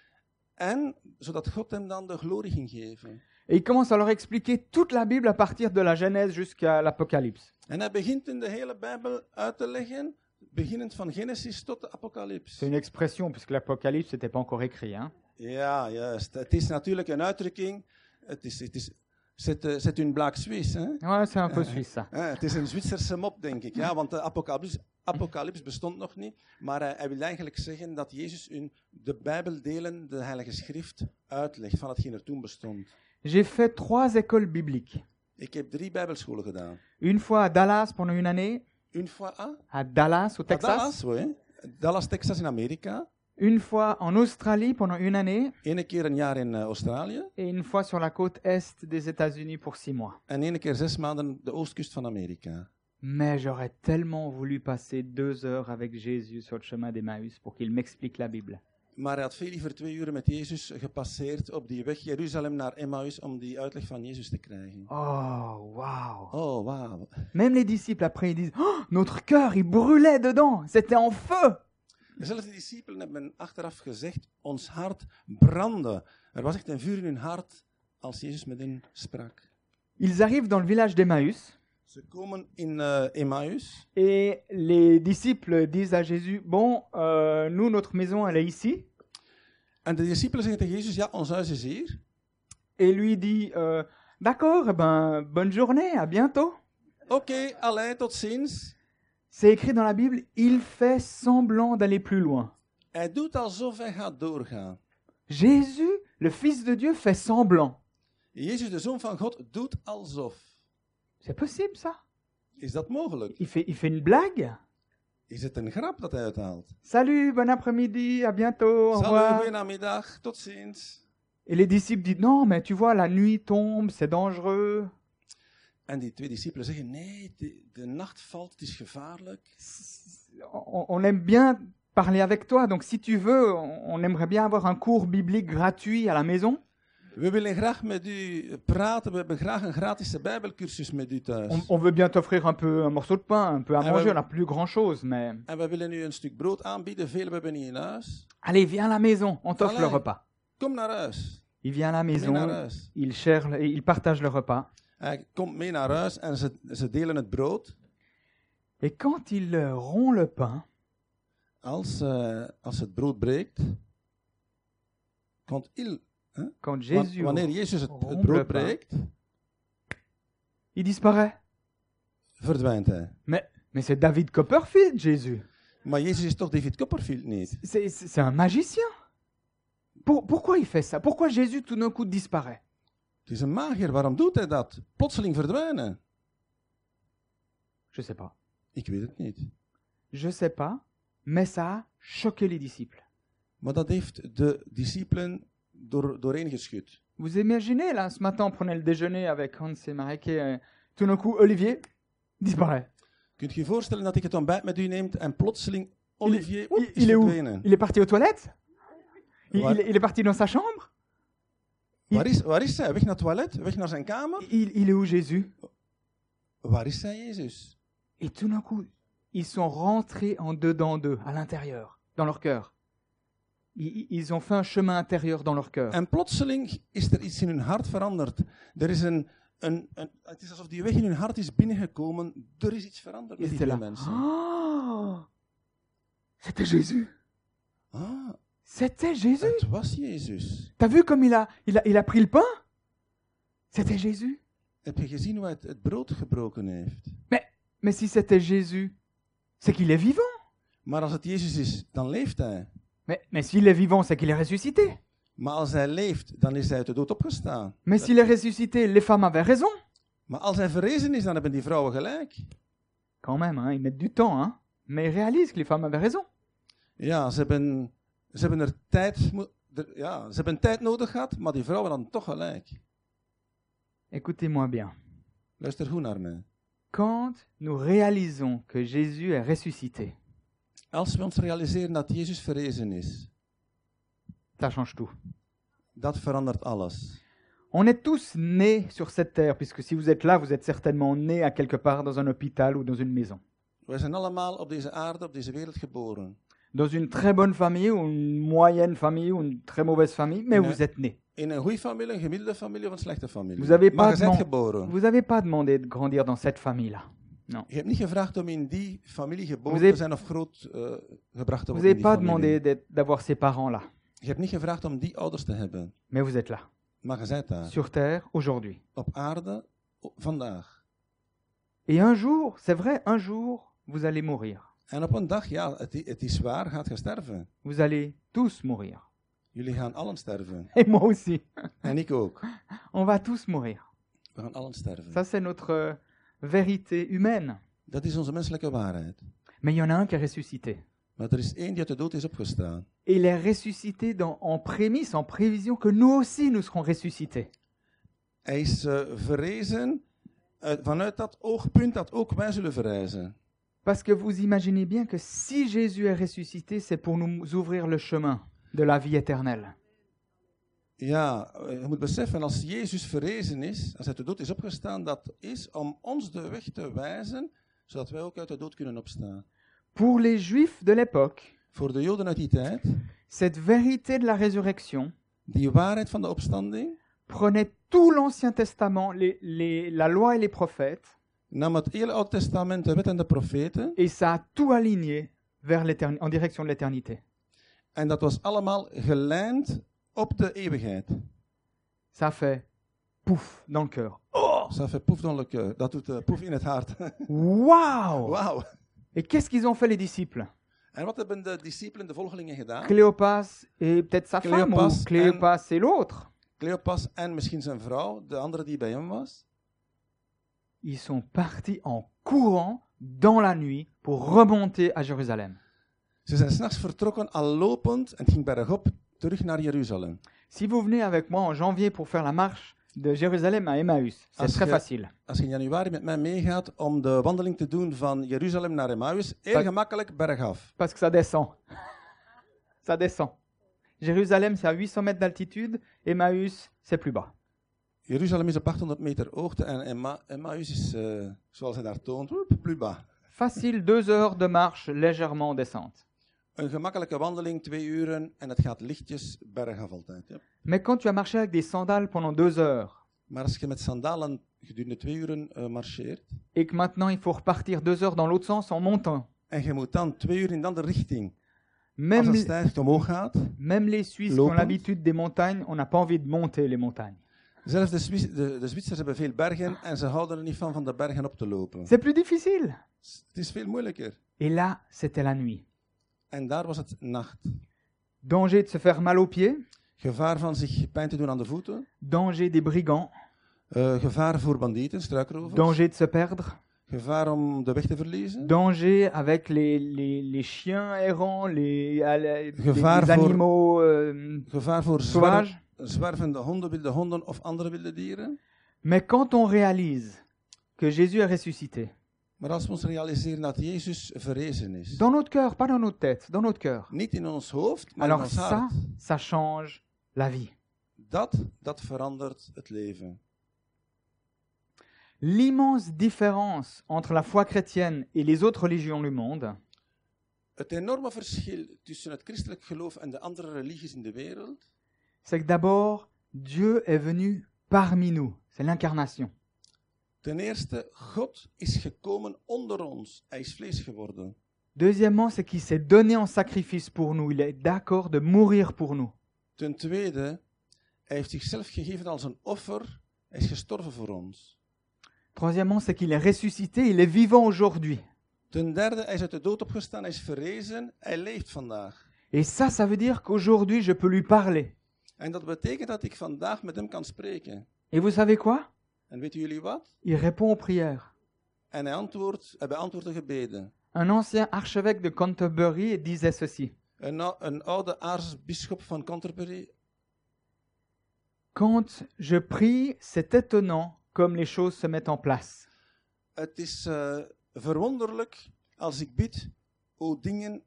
[SPEAKER 2] en zodat God hem dan de glorie ging geven.
[SPEAKER 1] Et il commence à leur expliquer toute la Bible à partir de la Genèse jusqu'à l'Apocalypse.
[SPEAKER 2] En hij begint in de hele Bijbel uit te leggen, beginnend van Genesis tot de Apocalypse.
[SPEAKER 1] C'est une expression, puisque l'Apocalypse n'était pas encore écrit. hein.
[SPEAKER 2] Ja, juist. Het is natuurlijk een uitdrukking. Het is, het is C'est eh, c'est une blague suisse. Hè?
[SPEAKER 1] Ouais, c'est un peu suisse ça.
[SPEAKER 2] Eh, het is een Zwitserse mop, denk ik. Ja, want de apocalyps, apocalyps bestond nog niet. Maar eh, hij wil eigenlijk zeggen dat Jezus in de Bijbeldelen, de Heilige Schrift, uitlegt van hetgeen er toen bestond.
[SPEAKER 1] J'ai fait trois écoles bibliques.
[SPEAKER 2] Ik heb drie Bijbelscholen gedaan.
[SPEAKER 1] Une fois à Dallas pendant une année,
[SPEAKER 2] Une fois à
[SPEAKER 1] à Dallas au Texas.
[SPEAKER 2] Dallas, oui. Dallas, Texas in Amerika.
[SPEAKER 1] Une fois en Australie pendant une année
[SPEAKER 2] Eén keer een jaar in eh, Australië.
[SPEAKER 1] et une fois sur la côte est des États-Unis pour six mois.
[SPEAKER 2] En één keer zes maanden de oostkust van Amerika.
[SPEAKER 1] Mais j'aurais tellement voulu passer deux heures avec Jésus sur le chemin d'Emmaüs pour qu'il m'explique la Bible.
[SPEAKER 2] Maar hij had veel liever twee uren met Jezus gepasseerd op die weg Jeruzalem naar Emmaus om die uitleg van Jezus te krijgen.
[SPEAKER 1] Oh, waouh
[SPEAKER 2] Oh, wauw.
[SPEAKER 1] Même les disciples, après, ils disent Oh, Notre cœur, il brûlait dedans, c'était en feu
[SPEAKER 2] Zelfs de discipelen hebben achteraf gezegd, ons hart brandde. Er was echt een vuur in hun hart als Jezus met hen sprak.
[SPEAKER 1] Ils arrivent dans le village d'Emmaüs
[SPEAKER 2] Ze komen in eh, Emmaus
[SPEAKER 1] et les disciples disent à Jésus Bon, euh, nous, notre maison, elle est ici.
[SPEAKER 2] en de discipelen zeggen tegen Jezus, ja, ons huis is hier.
[SPEAKER 1] Et lui dit euh, D'accord, eh ben, bonne journée, à bientôt.
[SPEAKER 2] Oké, allee, tot ziens.
[SPEAKER 1] C'est écrit dans la Bible Il fait semblant d'aller plus loin.
[SPEAKER 2] Hij doet alsof hij gaat doorgaan.
[SPEAKER 1] Jésus, le Fils de Dieu, fait semblant.
[SPEAKER 2] Jezus, de Zoon van God, doet alsof.
[SPEAKER 1] C'est possible, ça
[SPEAKER 2] Is dat mogelijk?
[SPEAKER 1] il fait, il fait une blague
[SPEAKER 2] Is het een grap dat hij uithaalt?
[SPEAKER 1] Salut, bon après-midi, à bientôt, au
[SPEAKER 2] Salut,
[SPEAKER 1] revoir.
[SPEAKER 2] goedenamiddag, tot ziens.
[SPEAKER 1] Et les disciples disent non, mais tu vois, la nuit tombe, c'est dangereux.
[SPEAKER 2] En die twee discipelen zeggen, nee, de, de nacht valt, het is gevaarlijk.
[SPEAKER 1] On, on aime bien parler avec toi, donc si tu veux, on, on aimerait bien avoir un cours biblique gratuit à la maison.
[SPEAKER 2] We willen graag met u praten, we hebben graag een gratis bijbelcursus met u thuis.
[SPEAKER 1] On, on veut bien t'offrir un peu un morceau de pain, un peu à
[SPEAKER 2] Ah,
[SPEAKER 1] manger,
[SPEAKER 2] ouais.
[SPEAKER 1] on n'a plus grand chose, mais
[SPEAKER 2] En we willen u een stuk brood aanbieden, veel hebben we niet in huis.
[SPEAKER 1] allez, viens à la maison, on t'offre
[SPEAKER 2] Allez.
[SPEAKER 1] le repas.
[SPEAKER 2] Kom naar huis,
[SPEAKER 1] Il vient à la
[SPEAKER 2] mee naar
[SPEAKER 1] maison,
[SPEAKER 2] huis.
[SPEAKER 1] il cherche, il partage le repas.
[SPEAKER 2] Hij komt mee naar huis en ze, ze delen het brood.
[SPEAKER 1] Et quand il euh, rompt le pain,
[SPEAKER 2] Als, eh, als het brood breekt, komt il,
[SPEAKER 1] quand
[SPEAKER 2] wa-
[SPEAKER 1] Jésus,
[SPEAKER 2] wanneer Jezus het, het
[SPEAKER 1] Wonderbaar.
[SPEAKER 2] brood breekt,
[SPEAKER 1] il disparaît.
[SPEAKER 2] verdwijnt hij.
[SPEAKER 1] Mais c'est David Copperfield, Jésus.
[SPEAKER 2] Maar Jezus is toch David Copperfield niet?
[SPEAKER 1] C'est- C'est c'est un magicien. Pour- pourquoi il fait ça Pourquoi Jésus tout d'un coup disparaît
[SPEAKER 2] Het is een magier, waarom doet hij dat? Plotseling verdwijnen?
[SPEAKER 1] Je sais pas.
[SPEAKER 2] Ik weet het niet.
[SPEAKER 1] Je sais pas, mais ça a choqué les disciples.
[SPEAKER 2] Maar dat heeft de discipelen door, doorheen geschud.
[SPEAKER 1] Vous imaginez, là, ce matin, on prenait le déjeuner avec Hans et Marek et euh, tout d'un coup, Olivier disparaît.
[SPEAKER 2] Kunt je je voorstellen dat ik het ontbijt met u neemt en plotseling Olivier oep,
[SPEAKER 1] il-
[SPEAKER 2] is
[SPEAKER 1] il est où
[SPEAKER 2] verdwenen?
[SPEAKER 1] Il est parti aux toilettes il,
[SPEAKER 2] Ouais.
[SPEAKER 1] il est- il est parti dans sa chambre
[SPEAKER 2] Waar is, waar is hij? Weg naar het toilet? Weg naar zijn kamer?
[SPEAKER 1] il, il est où Jésus
[SPEAKER 2] Waar is hij, Jezus?
[SPEAKER 1] Et tout d'un coup, ils sont rentrés en dedans d'eux, à l'intérieur, dans leur cœur. Ils, ils ont fait un chemin intérieur dans leur cœur.
[SPEAKER 2] En plotseling is er iets in hun hart veranderd. Er is een, een, een, het is alsof die weg in hun hart is binnengekomen. Er Ah. is iets veranderd met
[SPEAKER 1] Ils
[SPEAKER 2] die
[SPEAKER 1] étaient
[SPEAKER 2] twee
[SPEAKER 1] là.
[SPEAKER 2] mensen.
[SPEAKER 1] Oh C'était Jésus.
[SPEAKER 2] Ah,
[SPEAKER 1] C'était Jésus.
[SPEAKER 2] het was Jezus.
[SPEAKER 1] T'as vu comme il a, il a, il a pris le pain C'était Jésus.
[SPEAKER 2] Heb je gezien hoe hij het, het brood gebroken heeft?
[SPEAKER 1] Mais si c'était Jésus, c'est qu'il est vivant.
[SPEAKER 2] Maar als het Jezus is, dan leeft hij.
[SPEAKER 1] Mais, mais s'il est vivant, c'est qu'il est ressuscité.
[SPEAKER 2] Maar als hij leeft, dan is hij uit de dood opgestaan.
[SPEAKER 1] Mais s'il est ressuscité, les femmes avaient raison.
[SPEAKER 2] Maar als hij verrezen is, dan hebben die vrouwen gelijk.
[SPEAKER 1] Quand même, hein, ils mettent du temps. Hein. Mais ils réalisent que les femmes avaient raison.
[SPEAKER 2] Ja, ze hebben, ze hebben er tijd, mo- er- ja, ze hebben tijd nodig gehad, maar die vrouwen hadden toch gelijk.
[SPEAKER 1] Écoutez-moi bien.
[SPEAKER 2] Luister goed naar mij.
[SPEAKER 1] Quand nous réalisons que Jésus est ressuscité,
[SPEAKER 2] Als we ons realiseren dat Jezus verrezen is,
[SPEAKER 1] ça change tout.
[SPEAKER 2] dat verandert alles.
[SPEAKER 1] On est tous nés sur cette terre, puisque si vous êtes là, vous êtes certainement nés à quelque part dans un hôpital ou dans une maison.
[SPEAKER 2] Wij zijn allemaal op deze aarde, op deze wereld geboren.
[SPEAKER 1] Dans une très bonne famille ou une moyenne famille ou une très mauvaise famille, mais
[SPEAKER 2] Ouais.
[SPEAKER 1] vous êtes nés.
[SPEAKER 2] In een goede familie, een gemiddelde familie of een slechte familie.
[SPEAKER 1] Vous avez
[SPEAKER 2] maar
[SPEAKER 1] pas
[SPEAKER 2] je bent
[SPEAKER 1] demandé-
[SPEAKER 2] geboren.
[SPEAKER 1] Vous n'avez pas demandé de grandir dans cette famille-là.
[SPEAKER 2] Je hebt niet gevraagd om in die familie geboren
[SPEAKER 1] Vous avez-
[SPEAKER 2] te zijn of groot eh, gebracht te
[SPEAKER 1] Vous
[SPEAKER 2] worden.
[SPEAKER 1] n'avez
[SPEAKER 2] in die
[SPEAKER 1] pas
[SPEAKER 2] familie.
[SPEAKER 1] demandé d'être- d'avoir ces parents-là,
[SPEAKER 2] Je hebt niet gevraagd om die ouders te hebben,
[SPEAKER 1] mais vous êtes là.
[SPEAKER 2] Maar je bent daar.
[SPEAKER 1] sur Terre aujourd'hui.
[SPEAKER 2] Op aarde, o- vandaag.
[SPEAKER 1] Et un jour, c'est vrai, un jour, vous allez mourir.
[SPEAKER 2] En op een dag, ja, het, i- het is waar, gaat je sterven.
[SPEAKER 1] Vous allez tous mourir.
[SPEAKER 2] Jullie gaan allen sterven.
[SPEAKER 1] Et moi aussi.
[SPEAKER 2] En ik ook.
[SPEAKER 1] On va tous mourir.
[SPEAKER 2] We gaan allen sterven.
[SPEAKER 1] Ça, c'est notre euh, vérité humaine.
[SPEAKER 2] Dat is onze menselijke waarheid.
[SPEAKER 1] Mais il y en a un qui est ressuscité.
[SPEAKER 2] Maar er is één die uit de dood is opgestaan.
[SPEAKER 1] Et il est ressuscité dans- en prémisse, en prévision que nous aussi, nous serons ressuscités.
[SPEAKER 2] Hij is eh, verrezen uit- vanuit dat oogpunt dat ook wij zullen verrijzen.
[SPEAKER 1] Parce que vous imaginez bien que si Jésus est ressuscité, c'est pour nous ouvrir le chemin de la vie éternelle.
[SPEAKER 2] Ja, eh, je moet beseffen, als Jezus verrezen is, als hij uit de dood is opgestaan, dat is om ons de weg te wijzen, zodat wij ook uit de dood kunnen opstaan.
[SPEAKER 1] Pour les Juifs de l'époque,
[SPEAKER 2] Voor de Joden uit die tijd,
[SPEAKER 1] cette vérité de la résurrection
[SPEAKER 2] die waarheid van de opstanding,
[SPEAKER 1] prenait tout l'Ancien Testament, les- les- la loi et les prophètes,
[SPEAKER 2] nam het hele Oude Testament, de wet en de profeten,
[SPEAKER 1] et ça a tout aligné vers l'étern- en direction de l'éternité.
[SPEAKER 2] en dat was allemaal gelijnd op de eeuwigheid.
[SPEAKER 1] Ça fait pouf dans le cœur.
[SPEAKER 2] Ça fait poef dans le cœur. Dat doet eh, poef in het hart.
[SPEAKER 1] Waouh
[SPEAKER 2] Wauw.
[SPEAKER 1] Et qu'est-ce qu'ils ont fait les disciples
[SPEAKER 2] En wat hebben de discipelen, de volgelingen gedaan?
[SPEAKER 1] Cléopas et peut-être sa femme,
[SPEAKER 2] Cléopas
[SPEAKER 1] ou Cléopas et l'autre,
[SPEAKER 2] Cleopas en misschien zijn vrouw, de andere die bij hem was,
[SPEAKER 1] ils sont partis en courant dans la nuit pour remonter à Jérusalem.
[SPEAKER 2] ze zijn s'nachts vertrokken al lopend en het ging bergop terug naar Jeruzalem.
[SPEAKER 1] Si vous venez avec moi en janvier pour faire la marche de Jérusalem à Emmaüs,
[SPEAKER 2] Ah,
[SPEAKER 1] c'est très
[SPEAKER 2] c'est-
[SPEAKER 1] facile.
[SPEAKER 2] Als je in januari met mij meegaat om de wandeling te doen van Jeruzalem naar Emmaus, heel
[SPEAKER 1] Dat-
[SPEAKER 2] gemakkelijk bergaf.
[SPEAKER 1] Parce que ça descend. Ça descend. Jérusalem, c'est à 800 mètres d'altitude. Emmaüs, c'est plus bas.
[SPEAKER 2] Jeruzalem is op 800 meter hoogte en Emma, Emmaus is, eh, zoals hij daar toont, woep, pluba.
[SPEAKER 1] Facile, deux heures de marche légèrement en descente.
[SPEAKER 2] Een gemakkelijke wandeling, twee uren, en het gaat lichtjes bergaf altijd. ja.
[SPEAKER 1] Mais quand tu as marché avec des sandales pendant deux heures
[SPEAKER 2] Maar als je met sandalen gedurende twee uren eh, marcheert,
[SPEAKER 1] et que maintenant il faut repartir deux heures dans l'autre sens en montant,
[SPEAKER 2] en je moet dan twee uur in de andere richting, als
[SPEAKER 1] même,
[SPEAKER 2] het stijgt omhoog gaat,
[SPEAKER 1] même les Suisses qui ont
[SPEAKER 2] Lopend.
[SPEAKER 1] l'habitude des montagnes, on n'a pas envie de monter les montagnes.
[SPEAKER 2] Zelfs de, Swi- de, de Zwitsers hebben veel bergen en ze houden er niet van van de bergen op te lopen.
[SPEAKER 1] C'est plus difficile.
[SPEAKER 2] S- Het is veel moeilijker.
[SPEAKER 1] Et là, c'était la nuit.
[SPEAKER 2] En daar was het nacht.
[SPEAKER 1] Danger de se faire mal aux pieds,
[SPEAKER 2] Gevaar van zich pijn te doen aan de voeten.
[SPEAKER 1] danger des brigands,
[SPEAKER 2] eh, gevaar voor bandieten, struikrovers.
[SPEAKER 1] danger de se perdre.
[SPEAKER 2] Gevaar om de weg te verliezen.
[SPEAKER 1] danger avec les, les, les chiens errants, les, à la- les-
[SPEAKER 2] Gevaar
[SPEAKER 1] les
[SPEAKER 2] voor-
[SPEAKER 1] animaux euh,
[SPEAKER 2] Gevaar voor zwer-
[SPEAKER 1] sauvages.
[SPEAKER 2] zwervende honden, wilde honden of andere wilde dieren.
[SPEAKER 1] Mais quand on réalise que Jésus est ressuscité,
[SPEAKER 2] Maar als we ons realiseren dat Jezus verrezen is.
[SPEAKER 1] dans notre cœur, pas dans notre tête, dans notre cœur,
[SPEAKER 2] Niet in ons hoofd, maar in
[SPEAKER 1] alors
[SPEAKER 2] ons
[SPEAKER 1] ça,
[SPEAKER 2] hart.
[SPEAKER 1] ça change la vie.
[SPEAKER 2] Dat, dat verandert het leven.
[SPEAKER 1] L'immense différence entre la foi chrétienne et les autres religions du monde,
[SPEAKER 2] Het enorme verschil tussen het christelijk geloof en de andere religies in de wereld
[SPEAKER 1] c'est que d'abord, Dieu est venu parmi nous. C'est l'incarnation.
[SPEAKER 2] Ten eerste, God is gekomen onder ons. Hij is vlees geworden.
[SPEAKER 1] Deuxièmement, c'est qu'il s'est donné en sacrifice pour nous. Il est d'accord de mourir pour nous.
[SPEAKER 2] Ten tweede, hij heeft zichzelf gegeven als een offer. Hij is gestorven voor ons.
[SPEAKER 1] Troisièmement, c'est qu'il est ressuscité, il est vivant aujourd'hui.
[SPEAKER 2] Ten derde, hij is uit de dood opgestaan, hij is verrezen, hij leeft vandaag.
[SPEAKER 1] Et ça, ça veut dire qu'aujourd'hui, je peux lui parler.
[SPEAKER 2] En dat betekent dat ik vandaag met hem kan spreken.
[SPEAKER 1] Et vous savez quoi
[SPEAKER 2] En weten jullie wat?
[SPEAKER 1] Il répond aux prières.
[SPEAKER 2] En hij, antwoordt, hij beantwoordt de gebeden.
[SPEAKER 1] Un ancien archevêque de Canterbury disait ceci.
[SPEAKER 2] Een, ou- een oude aartsbisschop van Canterbury.
[SPEAKER 1] Quand je prie, c'est étonnant comme les choses se mettent en place.
[SPEAKER 2] Het is eh, verwonderlijk als ik bid hoe dingen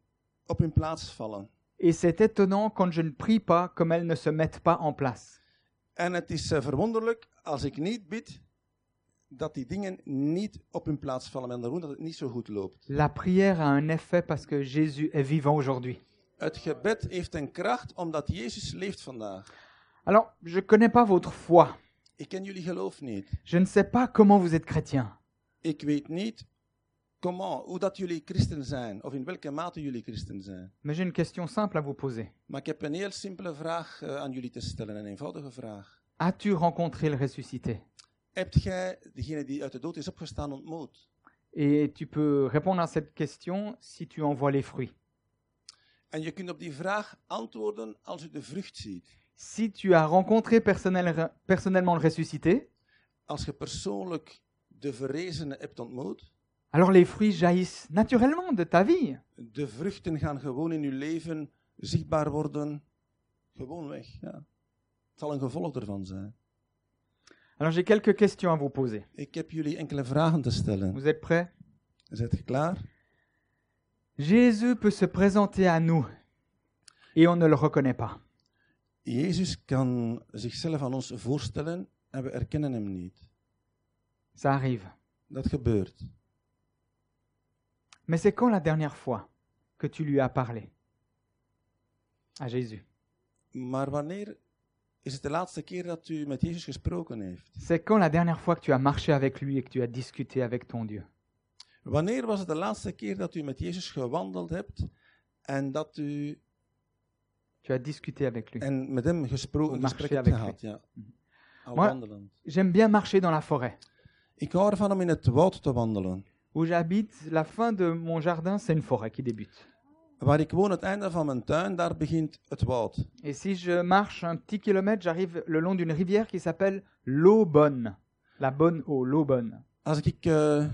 [SPEAKER 2] op hun plaats vallen.
[SPEAKER 1] Et c'est étonnant quand je ne prie pas comme elles ne se mettent pas en place.
[SPEAKER 2] En het is eh, verwonderlijk als ik niet bid dat die dingen niet op hun plaats vallen en dat het niet zo goed loopt.
[SPEAKER 1] La prière a un effet parce que Jésus est vivant aujourd'hui.
[SPEAKER 2] Het gebed heeft een kracht omdat Jezus leeft vandaag.
[SPEAKER 1] Alors, je ne connais pas votre foi.
[SPEAKER 2] Ik ken jullie geloof niet.
[SPEAKER 1] Je ne sais pas comment vous êtes chrétien.
[SPEAKER 2] Ik weet niet comment, hoe dat jullie christen zijn of in welke mate jullie christen zijn.
[SPEAKER 1] Mais j'ai une question simple à vous poser.
[SPEAKER 2] Maar ik heb een heel simpele vraag eh, aan jullie te stellen, een eenvoudige vraag.
[SPEAKER 1] As-tu rencontré le ressuscité
[SPEAKER 2] Hebt jij degene die uit de dood is opgestaan ontmoet?
[SPEAKER 1] Et tu peux répondre à cette question si tu en vois les fruits.
[SPEAKER 2] En je kunt op die vraag antwoorden als u de vrucht ziet.
[SPEAKER 1] Si tu as rencontré personnel- personnellement le ressuscité,
[SPEAKER 2] Als je persoonlijk de verrezene hebt ontmoet,
[SPEAKER 1] alors les fruits jaillissent naturellement de ta vie.
[SPEAKER 2] de vruchten gaan gewoon in uw leven zichtbaar worden. Gewoon weg, ja. Het zal een gevolg ervan zijn.
[SPEAKER 1] Alors j'ai quelques questions à vous poser.
[SPEAKER 2] Ik heb jullie enkele vragen te stellen.
[SPEAKER 1] Vous êtes prêts
[SPEAKER 2] Zet je klaar?
[SPEAKER 1] Jésus peut se présenter à nous et on ne le reconnaît pas.
[SPEAKER 2] Jezus kan zichzelf aan ons voorstellen en we erkennen hem niet.
[SPEAKER 1] Ça arrive.
[SPEAKER 2] Dat gebeurt.
[SPEAKER 1] Mais c'est quand la dernière fois que tu lui as parlé À Jésus.
[SPEAKER 2] Maar wanneer is het de laatste keer dat u met Jezus gesproken heeft?
[SPEAKER 1] C'est quand la dernière fois que tu as marché avec lui et que tu as discuté avec ton Dieu
[SPEAKER 2] Wanneer was het de laatste keer dat u met Jezus gewandeld hebt en dat u
[SPEAKER 1] Tu as discuté avec lui.
[SPEAKER 2] en met hem gesproken
[SPEAKER 1] Een
[SPEAKER 2] gesprek
[SPEAKER 1] marché
[SPEAKER 2] hebt
[SPEAKER 1] avec
[SPEAKER 2] gehad? Ja. Al
[SPEAKER 1] Maar-
[SPEAKER 2] wandelend.
[SPEAKER 1] J'aime bien marcher dans la forêt.
[SPEAKER 2] Ik hou ervan om in het woud te wandelen.
[SPEAKER 1] Où j'habite, la fin de mon jardin, c'est une forêt qui débute.
[SPEAKER 2] Waar ik woon, het einde van mijn tuin, daar begint het woud.
[SPEAKER 1] Et si je marche un petit kilomètre, j'arrive le long d'une rivière qui s'appelle l'eau bonne. La bonne eau, l'eau bonne.
[SPEAKER 2] Als ik eh,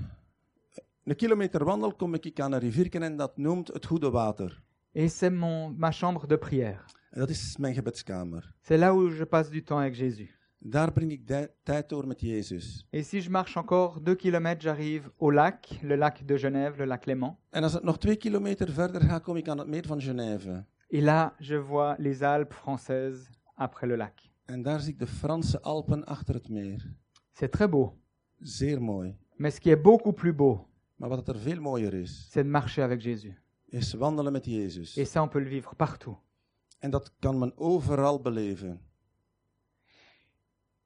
[SPEAKER 2] een kilometer wandel, kom ik aan een rivierken en dat noemt het Goede Water.
[SPEAKER 1] Et c'est mon, ma chambre de prière.
[SPEAKER 2] En dat is mijn gebedskamer.
[SPEAKER 1] C'est là où je passe du temps avec Jésus.
[SPEAKER 2] Daar breng ik de- tijd door met Jezus.
[SPEAKER 1] Et si je marche encore deux kilomètres, j'arrive au lac, le lac de Genève, le lac Léman.
[SPEAKER 2] En als het nog twee kilometer verder gaat, kom ik aan het meer van Genève.
[SPEAKER 1] Et là, je vois les Alpes françaises après le lac.
[SPEAKER 2] En daar zie ik de Franse Alpen achter het meer.
[SPEAKER 1] C'est très beau.
[SPEAKER 2] Zeer mooi.
[SPEAKER 1] Mais ce qui est beaucoup plus beau,
[SPEAKER 2] Maar wat er veel mooier is,
[SPEAKER 1] c'est de marcher avec Jésus.
[SPEAKER 2] is wandelen met Jezus.
[SPEAKER 1] Et ça, on peut le vivre partout.
[SPEAKER 2] En dat kan men overal beleven.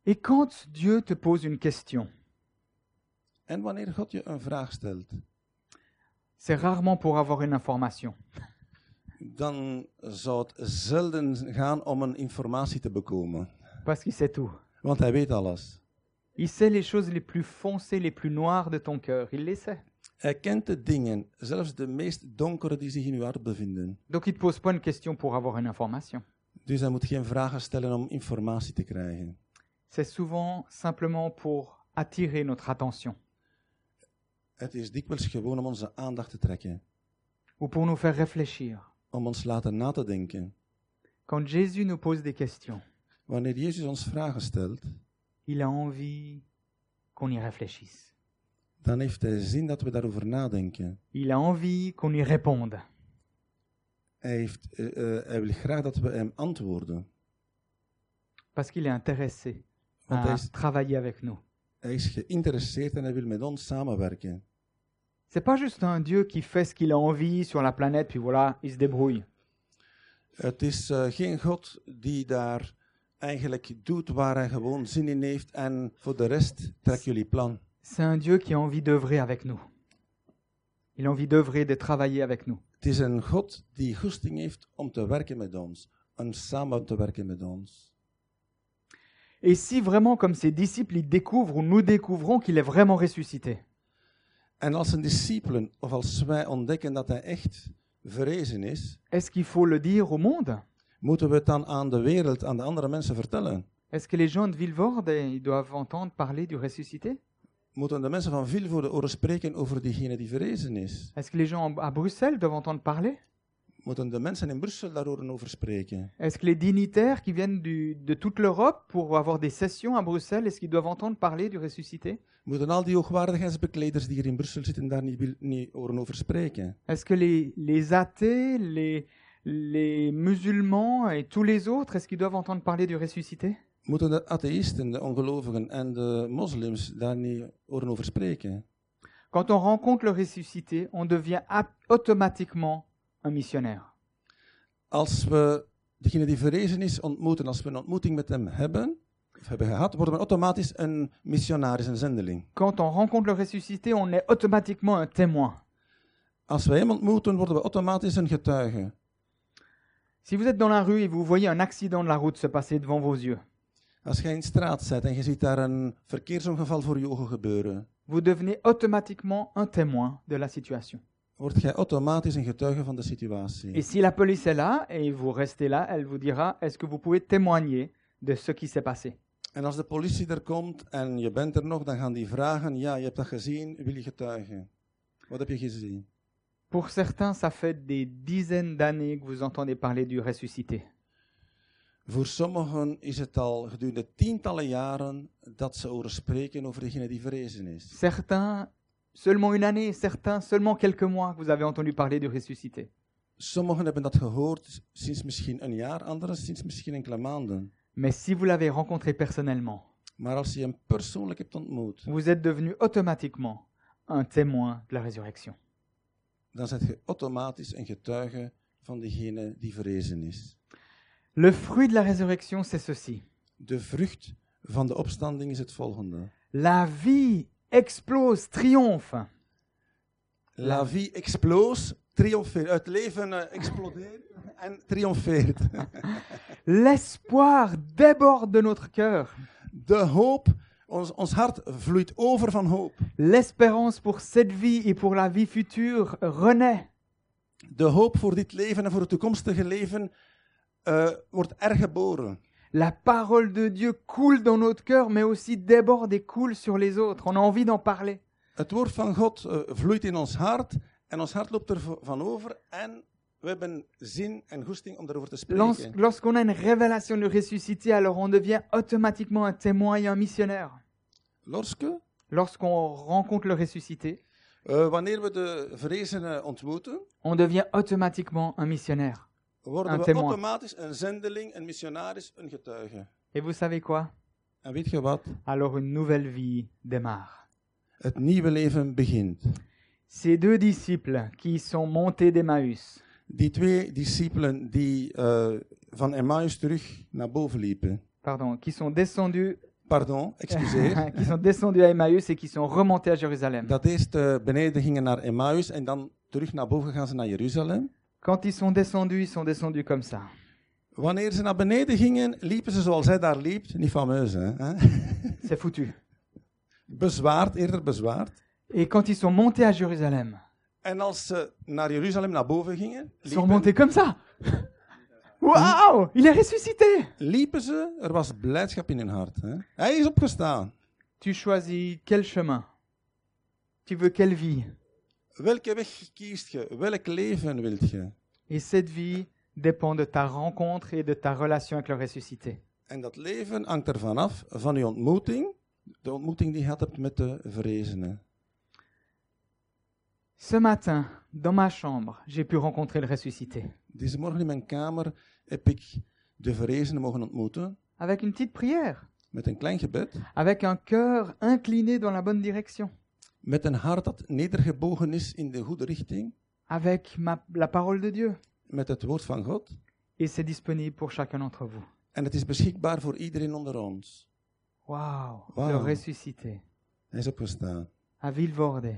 [SPEAKER 1] Et quand Dieu te pose une question,
[SPEAKER 2] En wanneer God je een vraag stelt,
[SPEAKER 1] c'est rarement pour avoir une information.
[SPEAKER 2] dan zou het zelden gaan om een informatie te bekomen.
[SPEAKER 1] Parce qu'il sait tout.
[SPEAKER 2] Want hij weet alles.
[SPEAKER 1] Il sait les choses les plus foncées, les plus noires de ton cœur. Il les sait.
[SPEAKER 2] Hij kent de dingen, zelfs de meest donkere die zich in uw hart bevinden.
[SPEAKER 1] Donc il ne te pose pas une question pour avoir une information.
[SPEAKER 2] Dus hij moet geen vragen stellen om informatie te krijgen.
[SPEAKER 1] C'est souvent simplement pour attirer notre attention
[SPEAKER 2] Het is dikwijls gewoon om onze aandacht te trekken,
[SPEAKER 1] ou pour nous faire réfléchir.
[SPEAKER 2] om ons laten na te denken.
[SPEAKER 1] Quand Jésus nous pose des questions,
[SPEAKER 2] Wanneer Jezus ons vragen stelt,
[SPEAKER 1] il a envie qu'on y réfléchisse.
[SPEAKER 2] dan heeft hij zin dat we daarover nadenken.
[SPEAKER 1] Il a envie qu'on y réponde.
[SPEAKER 2] Hij, heeft, eh, eh, hij wil graag dat we hem antwoorden,
[SPEAKER 1] Parce qu'il est intéressé
[SPEAKER 2] want hij
[SPEAKER 1] à
[SPEAKER 2] is,
[SPEAKER 1] travailler avec nous.
[SPEAKER 2] hij is geïnteresseerd en hij wil met ons samenwerken.
[SPEAKER 1] C'est pas juste un Dieu qui fait ce qu'il a envie sur la planète, puis voilà, il se débrouille.
[SPEAKER 2] Het is eh, geen God die daar eigenlijk doet waar hij gewoon zin in heeft en voor de rest trek jullie plan.
[SPEAKER 1] C'est un Dieu qui a envie d'œuvrer avec nous. Il a envie d'œuvrer, de travailler avec nous.
[SPEAKER 2] Het is een God die goesting heeft om te werken met ons, om samen te werken met ons.
[SPEAKER 1] Et si vraiment, comme ses disciples, ils découvrent ou nous découvrons qu'il est vraiment ressuscité,
[SPEAKER 2] En als zijn discipelen of als wij ontdekken dat hij echt verrezen is,
[SPEAKER 1] est-ce qu'il faut le dire au monde
[SPEAKER 2] moeten we het dan aan de wereld, aan de andere mensen vertellen?
[SPEAKER 1] Est-ce que les gens de Villevorde, ils doivent entendre parler du ressuscité
[SPEAKER 2] Moeten de mensen van veel voor de oren spreken over diegene die verrezen is?
[SPEAKER 1] Est-ce que les gens en- à Bruxelles doivent entendre parler
[SPEAKER 2] Moeten de mensen in Brussel daar horen over spreken?
[SPEAKER 1] Est-ce que les dignitaires qui viennent du- de toute l'Europe pour avoir des sessions à Bruxelles, est-ce qu'ils doivent entendre parler du ressuscité
[SPEAKER 2] Moeten al die hoogwaardigheidsbekleders die hier in Brussel zitten daar niet, wil- niet horen over spreken?
[SPEAKER 1] Est-ce que les, les athées, les, les musulmans et tous les autres, est-ce qu'ils doivent entendre parler du ressuscité
[SPEAKER 2] Moeten de atheïsten, de ongelovigen en de moslims daar niet horen over spreken?
[SPEAKER 1] Quand on rencontre le ressuscité, on devient ap- automatiquement un missionnaire.
[SPEAKER 2] Als we degene die verrezen is ontmoeten, als we een ontmoeting met hem hebben, of hebben gehad, worden we automatisch een missionaris, een zendeling.
[SPEAKER 1] Quand on rencontre le ressuscité, on est automatiquement un témoin.
[SPEAKER 2] Als we hem ontmoeten, worden we automatisch een getuige.
[SPEAKER 1] Si vous êtes dans la rue et vous voyez un accident de la route se passer devant vos yeux,
[SPEAKER 2] Als jij in de straat zit en je ziet daar een verkeersongeval voor je ogen gebeuren,
[SPEAKER 1] vous devenez automatiquement un témoin de la situation.
[SPEAKER 2] word jij automatisch een getuige van de
[SPEAKER 1] Et
[SPEAKER 2] situatie.
[SPEAKER 1] si la police est là et vous restez là, elle vous dira est-ce que vous pouvez témoigner de ce qui s'est passé
[SPEAKER 2] En als de politie er komt en je bent er nog, dan gaan die vragen, ja, je hebt dat gezien, wil je getuigen? Wat heb je gezien?
[SPEAKER 1] Pour certains, ça fait des dizaines d'années que vous entendez parler du ressuscité.
[SPEAKER 2] Voor sommigen is het al gedurende tientallen jaren dat ze horen spreken over degene die verrezen is.
[SPEAKER 1] Certains, seulement une année, certains, seulement quelques mois que vous avez entendu parler du ressuscité.
[SPEAKER 2] Sommigen hebben dat gehoord sinds misschien een jaar, anderen sinds misschien enkele maanden.
[SPEAKER 1] Mais si vous l'avez rencontré personnellement,
[SPEAKER 2] Maar als je hem persoonlijk hebt ontmoet,
[SPEAKER 1] vous êtes devenu automatiquement un témoin de la résurrection.
[SPEAKER 2] dan zet je automatisch een getuige van degene die verrezen is.
[SPEAKER 1] Le fruit de la résurrection, c'est ceci.
[SPEAKER 2] De vrucht van de opstanding is het volgende.
[SPEAKER 1] La vie explose, triomphe.
[SPEAKER 2] La vie explose, triomfeert. Het leven eh, explodeert en triomfeert.
[SPEAKER 1] L'espoir déborde de notre cœur.
[SPEAKER 2] De hoop, ons, ons hart vloeit over van hoop.
[SPEAKER 1] L'espérance pour cette vie et pour la vie future renaît.
[SPEAKER 2] De hoop voor dit leven en voor het toekomstige leven eh, wordt er geboren.
[SPEAKER 1] La parole de Dieu coule dans notre cœur, mais aussi déborde et coule sur les autres. On a envie d'en parler.
[SPEAKER 2] Het woord van God eh, vloeit in ons hart en ons hart loopt er v- van over en we hebben zin en goesting om daarover te
[SPEAKER 1] Lors-
[SPEAKER 2] spreken.
[SPEAKER 1] Lorsqu'on a une révélation du ressuscité, alors on devient automatiquement un témoin et un missionnaire.
[SPEAKER 2] Lorske,
[SPEAKER 1] Lorsqu'on rencontre le ressuscité,
[SPEAKER 2] eh, wanneer we de vrezenen ontmoeten,
[SPEAKER 1] on devient automatiquement un missionnaire.
[SPEAKER 2] worden
[SPEAKER 1] Een
[SPEAKER 2] we
[SPEAKER 1] temoin.
[SPEAKER 2] automatisch een zendeling, een missionaris, een getuige.
[SPEAKER 1] Et vous savez quoi
[SPEAKER 2] En weet je wat?
[SPEAKER 1] Alors une nouvelle vie démarre.
[SPEAKER 2] Het nieuwe leven begint.
[SPEAKER 1] Ces deux disciples qui sont montés d'Emmaüs,
[SPEAKER 2] Die twee discipelen die eh, van Emmaus terug naar boven liepen.
[SPEAKER 1] pardon, qui sont descendus,
[SPEAKER 2] Pardon, excuseer.
[SPEAKER 1] qui sont descendus à Emmaüs et qui sont remontés à Jérusalem.
[SPEAKER 2] Dat eerst eh, beneden gingen naar Emmaus en dan terug naar boven gaan ze naar Jeruzalem.
[SPEAKER 1] Quand ils sont descendus, ils sont descendus comme ça.
[SPEAKER 2] Wanneer ze naar beneden gingen, liepen ze zoals zij daar liep. Niet fameus, hè? hè?
[SPEAKER 1] C'est foutu.
[SPEAKER 2] Bezwaard, eerder bezwaard.
[SPEAKER 1] Et quand ils sont montés à Jérusalem,
[SPEAKER 2] En als ze naar Jeruzalem naar boven gingen,
[SPEAKER 1] ils sont
[SPEAKER 2] liepen,
[SPEAKER 1] remontés comme ça. Waouh Il est ressuscité
[SPEAKER 2] liepen ze. Er was blijdschap in hun hart. Hè? Hij is opgestaan.
[SPEAKER 1] Tu choisis quel chemin Tu veux quelle vie
[SPEAKER 2] Welke weg kiest je? Welk leven wilt je?
[SPEAKER 1] Et cette vie dépend de ta rencontre et de ta relation avec le ressuscité.
[SPEAKER 2] En dat leven hangt ervan af van uw ontmoeting, de ontmoeting die je gehad hebt met de verrezenen.
[SPEAKER 1] Ce matin, dans ma chambre, j'ai pu rencontrer le ressuscité.
[SPEAKER 2] Deze morgen in mijn kamer heb ik de verrezenen mogen ontmoeten
[SPEAKER 1] Avec une petite prière,
[SPEAKER 2] met een klein gebed,
[SPEAKER 1] avec un cœur incliné dans la bonne direction,
[SPEAKER 2] met een hart dat nedergebogen is in de goede richting,
[SPEAKER 1] avec ma- la parole de Dieu.
[SPEAKER 2] met het woord van God.
[SPEAKER 1] Et c'est disponible pour chacun d'entre vous.
[SPEAKER 2] En het is beschikbaar voor iedereen onder ons.
[SPEAKER 1] Waouh
[SPEAKER 2] Wow.
[SPEAKER 1] Le ressuscité,
[SPEAKER 2] Hij is opgestaan.
[SPEAKER 1] à Villevorde.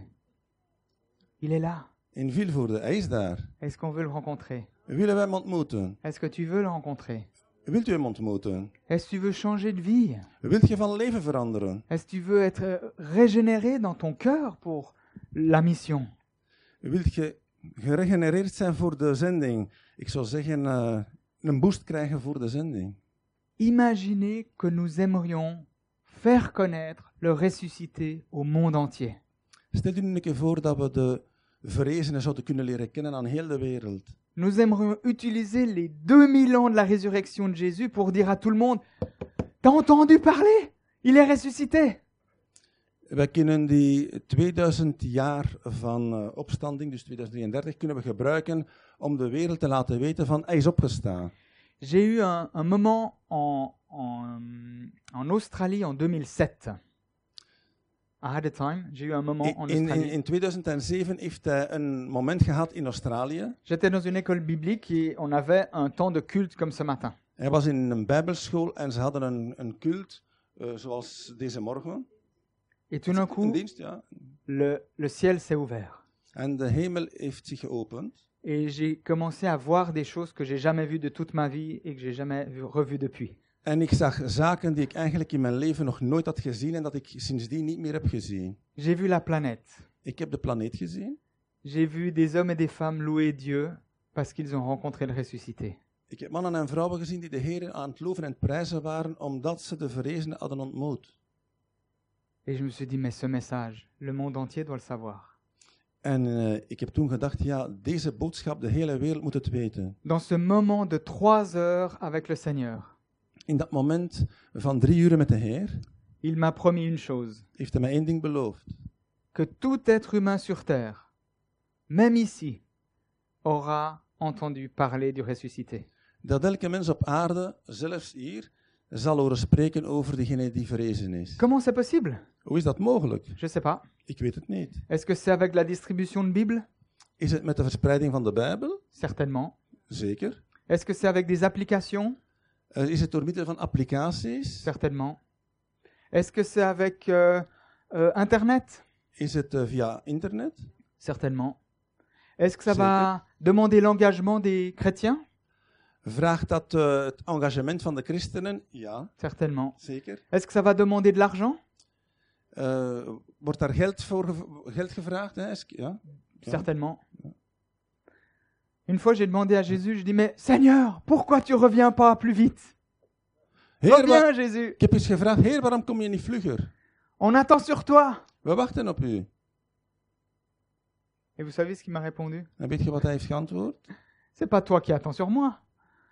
[SPEAKER 1] Il est là.
[SPEAKER 2] In Vilvoorde, hij is daar.
[SPEAKER 1] Est-ce qu'on veut le rencontrer
[SPEAKER 2] Willen wij hem ontmoeten?
[SPEAKER 1] Est-ce que tu veux le rencontrer
[SPEAKER 2] Wilt u hem ontmoeten?
[SPEAKER 1] Est-ce que tu veux changer de vie
[SPEAKER 2] Wilt je van leven veranderen?
[SPEAKER 1] Est-ce que tu veux être euh, régénéré dans ton cœur pour la mission
[SPEAKER 2] Wilt je geregenereerd zijn voor de zending? Ik zou zeggen, eh, een boost krijgen voor de zending.
[SPEAKER 1] Imaginez que nous aimerions faire connaître le ressuscité au monde entier.
[SPEAKER 2] Stel u nu een keer voor dat we de verrezenen zouden kunnen leren kennen aan heel de wereld.
[SPEAKER 1] Nous aimerions utiliser les 2000 ans de la résurrection de Jésus pour dire à tout le monde T'as entendu parler Il est ressuscité
[SPEAKER 2] Wij kunnen die 2000 jaar van eh, opstanding, dus 2033, kunnen we gebruiken om de wereld te laten weten van hij is opgestaan.
[SPEAKER 1] J'ai eu un, un moment en, en, en Australie en 2007. I had a time. J'ai eu un moment
[SPEAKER 2] In,
[SPEAKER 1] en
[SPEAKER 2] in,
[SPEAKER 1] Australie.
[SPEAKER 2] in 2007 heeft hij een moment gehad in Australië.
[SPEAKER 1] J'étais dans une école biblique et on avait un temps de culte comme ce matin.
[SPEAKER 2] Hij was in een bijbelschool en ze hadden een, een cult, eh, zoals deze morgen.
[SPEAKER 1] Et tout d'un coup,
[SPEAKER 2] Een dienst, ja.
[SPEAKER 1] le, le ciel s'est ouvert.
[SPEAKER 2] En de hemel heeft zich geopend.
[SPEAKER 1] Et j'ai commencé à voir des choses que j'ai jamais vues de toute ma vie et que j'ai jamais vu- revues depuis.
[SPEAKER 2] En ik zag zaken die ik eigenlijk in mijn leven nog nooit had gezien en dat ik sindsdien niet meer heb gezien.
[SPEAKER 1] J'ai vu la planète.
[SPEAKER 2] Ik heb de planeet gezien.
[SPEAKER 1] J'ai vu des hommes et des femmes louer Dieu parce qu'ils ont rencontré le ressuscité.
[SPEAKER 2] Ik heb mannen en vrouwen gezien die de Heer aan het loven en het prijzen waren omdat ze de verrezene hadden ontmoet.
[SPEAKER 1] Et je me suis dit, mais ce message, le monde entier doit le savoir.
[SPEAKER 2] En eh, ik heb toen gedacht, ja, deze boodschap, de hele wereld moet het weten.
[SPEAKER 1] Dans ce moment de trois heures avec le Seigneur,
[SPEAKER 2] In dat moment van drie uren met de Heer
[SPEAKER 1] il m'a promis une chose,
[SPEAKER 2] heeft hij mij één ding beloofd.
[SPEAKER 1] que tout être humain sur Terre, même ici, aura entendu parler du ressuscité.
[SPEAKER 2] Dat elke mens op aarde, zelfs hier, zal horen spreken over degene die verrezen is.
[SPEAKER 1] Comment c'est possible
[SPEAKER 2] Hoe is dat mogelijk?
[SPEAKER 1] Je ne sais pas.
[SPEAKER 2] Ik weet het niet.
[SPEAKER 1] Est-ce que c'est avec la distribution de Bible
[SPEAKER 2] Is het met de verspreiding van de Bijbel?
[SPEAKER 1] Certainement.
[SPEAKER 2] Zeker.
[SPEAKER 1] Est-ce que c'est avec des applications
[SPEAKER 2] Eh, Is het door middel van applicaties?
[SPEAKER 1] Certainement. Est-ce que c'est avec euh, euh, Internet
[SPEAKER 2] Is het eh, via internet?
[SPEAKER 1] Certainement. Est-ce que ça va demander l'engagement des chrétiens
[SPEAKER 2] Vraagt dat eh, het engagement van de christenen? Ja,
[SPEAKER 1] Certainement.
[SPEAKER 2] zeker.
[SPEAKER 1] Est-ce que ça va demander de l'argent
[SPEAKER 2] Eh, wordt daar geld voor gev- geld gevraagd? Hè? Is- Ja. Ja.
[SPEAKER 1] Certainement. Une fois, j'ai demandé à Jésus, je dis, mais Seigneur, pourquoi tu reviens pas plus vite
[SPEAKER 2] Heer, wa-
[SPEAKER 1] Reviens, Jésus.
[SPEAKER 2] ik heb eens gevraagd, heer, waarom kom je niet vlugger?
[SPEAKER 1] On attend sur toi.
[SPEAKER 2] We wachten op u.
[SPEAKER 1] Et vous savez ce qu'il m'a répondu
[SPEAKER 2] En weet je wat hij heeft geantwoord?
[SPEAKER 1] C'est pas toi qui attends sur moi,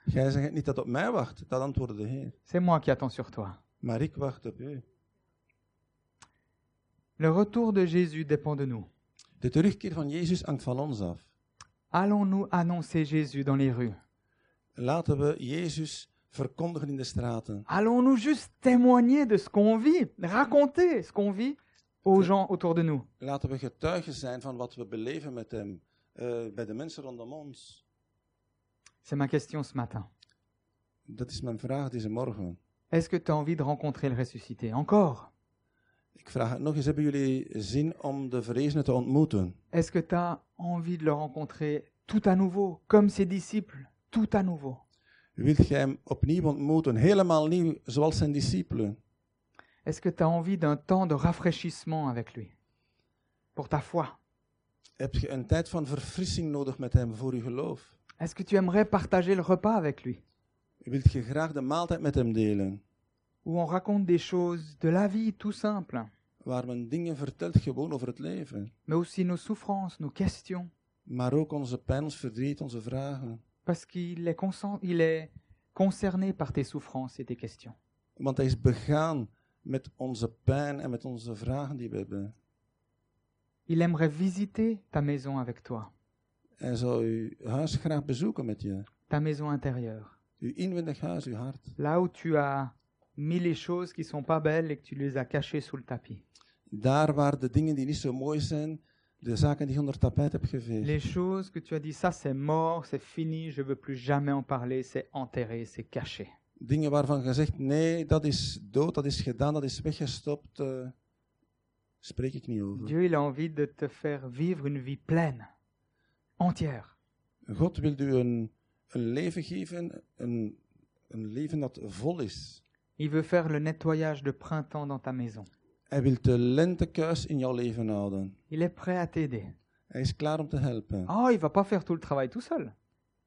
[SPEAKER 2] Jij zegt niet dat op mij wacht, dat antwoordde de heer.
[SPEAKER 1] c'est moi qui attends sur toi.
[SPEAKER 2] Maar ik wacht op u.
[SPEAKER 1] Le retour de Jésus dépend de nous.
[SPEAKER 2] De terugkeer van Jezus hangt van ons af.
[SPEAKER 1] Allons-nous annoncer Jésus dans les rues
[SPEAKER 2] Laten we Jezus verkondigen in de straten.
[SPEAKER 1] Allons-nous juste témoigner de ce qu'on vit, raconter ce qu'on vit aux gens autour de nous
[SPEAKER 2] Laten we getuigen zijn van wat we beleven met hem, eh, bij de mensen rondom ons.
[SPEAKER 1] C'est ma question ce matin.
[SPEAKER 2] Dat is mijn vraag deze morgen.
[SPEAKER 1] Est-ce que tu as envie de rencontrer le ressuscité Encore
[SPEAKER 2] Ik vraag het nog eens, hebben jullie zin om de verrezenen te ontmoeten?
[SPEAKER 1] Est-ce que tu as envie de le rencontrer tout à nouveau, comme ses disciples, tout à nouveau
[SPEAKER 2] Wilt gij hem opnieuw ontmoeten, helemaal nieuw, zoals zijn discipelen?
[SPEAKER 1] Est-ce que tu as envie d'un temps de rafraîchissement avec lui Pour ta foi
[SPEAKER 2] Heb je een tijd van verfrissing nodig met hem voor uw geloof?
[SPEAKER 1] Est-ce que tu aimerais partager le repas avec lui
[SPEAKER 2] Wilt je graag de maaltijd met hem delen,
[SPEAKER 1] Où on raconte des choses de la vie tout simple,
[SPEAKER 2] waar men dingen vertelt gewoon over het leven,
[SPEAKER 1] mais aussi nos souffrances, nos questions
[SPEAKER 2] maar ook onze pijn, ons verdriet, onze vragen?
[SPEAKER 1] Parce qu'il est, consen- il est concerné par tes souffrances et tes questions.
[SPEAKER 2] Want hij is begaan met onze pijn en met onze vragen die we hebben.
[SPEAKER 1] Il aimerait visiter ta maison avec toi,
[SPEAKER 2] Hij zou uw huis graag bezoeken met je.
[SPEAKER 1] ta maison intérieure,
[SPEAKER 2] Uw inwendig huis, uw hart.
[SPEAKER 1] là où tu as mis les choses qui sont pas belles et que tu les as cachées sous le tapis,
[SPEAKER 2] Daar waar de dingen die niet zo mooi zijn, de zaken die je onder het tapijt hebt geveegd.
[SPEAKER 1] les choses que tu as dit ça c'est mort, c'est fini, je veux plus jamais en parler, c'est enterré, c'est caché.
[SPEAKER 2] Dingen waarvan gezegd, nee, dat is dood, dat is gedaan, dat is weggestopt. eh, spreek ik niet over.
[SPEAKER 1] Dieu il a envie de te faire vivre une vie pleine, entière,
[SPEAKER 2] God wil u een, een leven geven, een, een leven dat vol is.
[SPEAKER 1] il veut faire le nettoyage de printemps dans ta maison.
[SPEAKER 2] Hij wil de lentekuis in jouw leven houden.
[SPEAKER 1] Il est prêt à t'aider.
[SPEAKER 2] Hij is klaar om te helpen.
[SPEAKER 1] Oh, il va pas faire tout le travail tout seul,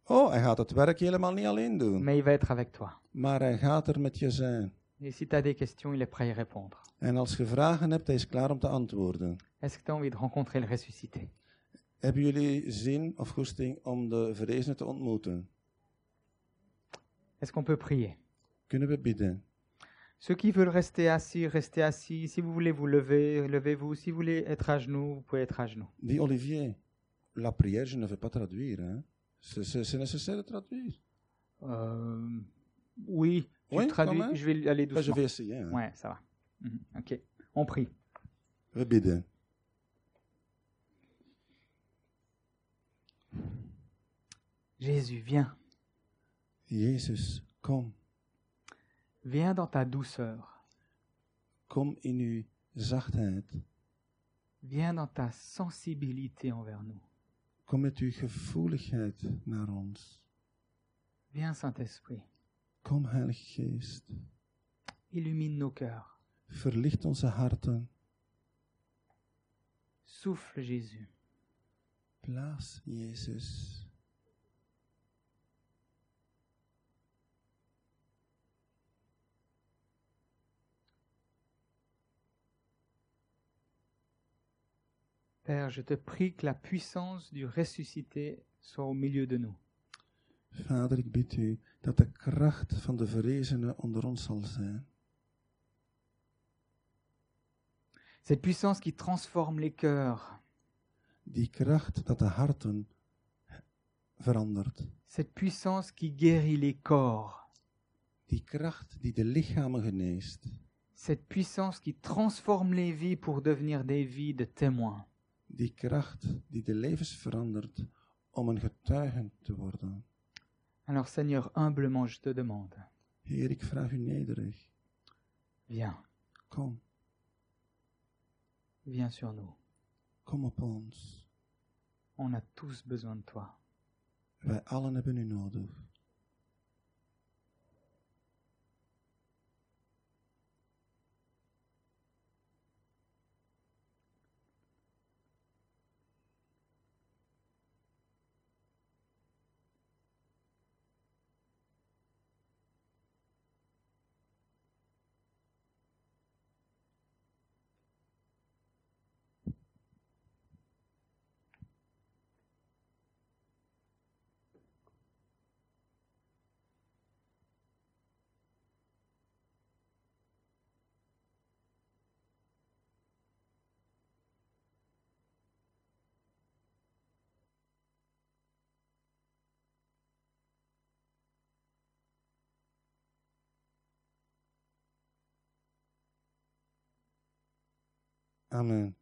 [SPEAKER 2] Oh, hij gaat het werk helemaal niet alleen doen,
[SPEAKER 1] mais il va être avec toi.
[SPEAKER 2] maar hij gaat er met je zijn.
[SPEAKER 1] Et si tu as des questions, il est prêt à y répondre.
[SPEAKER 2] En als je vragen hebt, hij is klaar om te antwoorden.
[SPEAKER 1] Est-ce que tu as envie de rencontrer le ressuscité
[SPEAKER 2] Hebben jullie zin of goesting om de verrezenen te ontmoeten?
[SPEAKER 1] Est-ce qu'on peut prier
[SPEAKER 2] Kunnen we bidden?
[SPEAKER 1] Ceux qui veulent rester assis, restez assis. Si vous voulez vous lever, levez-vous. Si vous voulez être à genoux, vous pouvez être à genoux.
[SPEAKER 2] Die Olivier, la prière, je ne vais pas traduire. Hein? C'est- C'est c'est nécessaire de traduire.
[SPEAKER 1] Euh, oui, tu
[SPEAKER 2] Oui,
[SPEAKER 1] traduis.
[SPEAKER 2] quand même.
[SPEAKER 1] Je vais aller
[SPEAKER 2] Ja, je
[SPEAKER 1] doucement.
[SPEAKER 2] vais essayer. Hein?
[SPEAKER 1] Ouais, ça va. Mhm, Ok, on prie.
[SPEAKER 2] We bidden.
[SPEAKER 1] Jésus, viens.
[SPEAKER 2] Jezus, kom.
[SPEAKER 1] Viens dans ta douceur.
[SPEAKER 2] Kom in uw zachtheid.
[SPEAKER 1] Viens dans ta sensibilité envers nous.
[SPEAKER 2] Kom met uw gevoeligheid naar ons.
[SPEAKER 1] Viens, Saint-Esprit.
[SPEAKER 2] Kom, Heilige Geest,
[SPEAKER 1] illumine nos cœurs.
[SPEAKER 2] verlicht onze harten.
[SPEAKER 1] Souffle Jésus.
[SPEAKER 2] Plaats Jezus.
[SPEAKER 1] Père, je te prie que la puissance du ressuscité soit au milieu de nous.
[SPEAKER 2] Vader, ik bid u dat de kracht van de verrezene onder ons zal zijn.
[SPEAKER 1] Cette puissance qui transforme les cœurs.
[SPEAKER 2] Die kracht dat de harten verandert.
[SPEAKER 1] Cette puissance qui guérit les corps.
[SPEAKER 2] Die kracht die de lichamen geneest.
[SPEAKER 1] Cette puissance qui transforme les vies pour devenir des vies de témoins.
[SPEAKER 2] Die kracht die de levens verandert om een getuige te worden.
[SPEAKER 1] Alors Seigneur, humblement je te demande,
[SPEAKER 2] Heer, ik vraag u nederig,
[SPEAKER 1] viens,
[SPEAKER 2] kom,
[SPEAKER 1] viens sur nous.
[SPEAKER 2] kom op ons.
[SPEAKER 1] On a tous besoin de toi.
[SPEAKER 2] Wij allen hebben u nodig. Amen.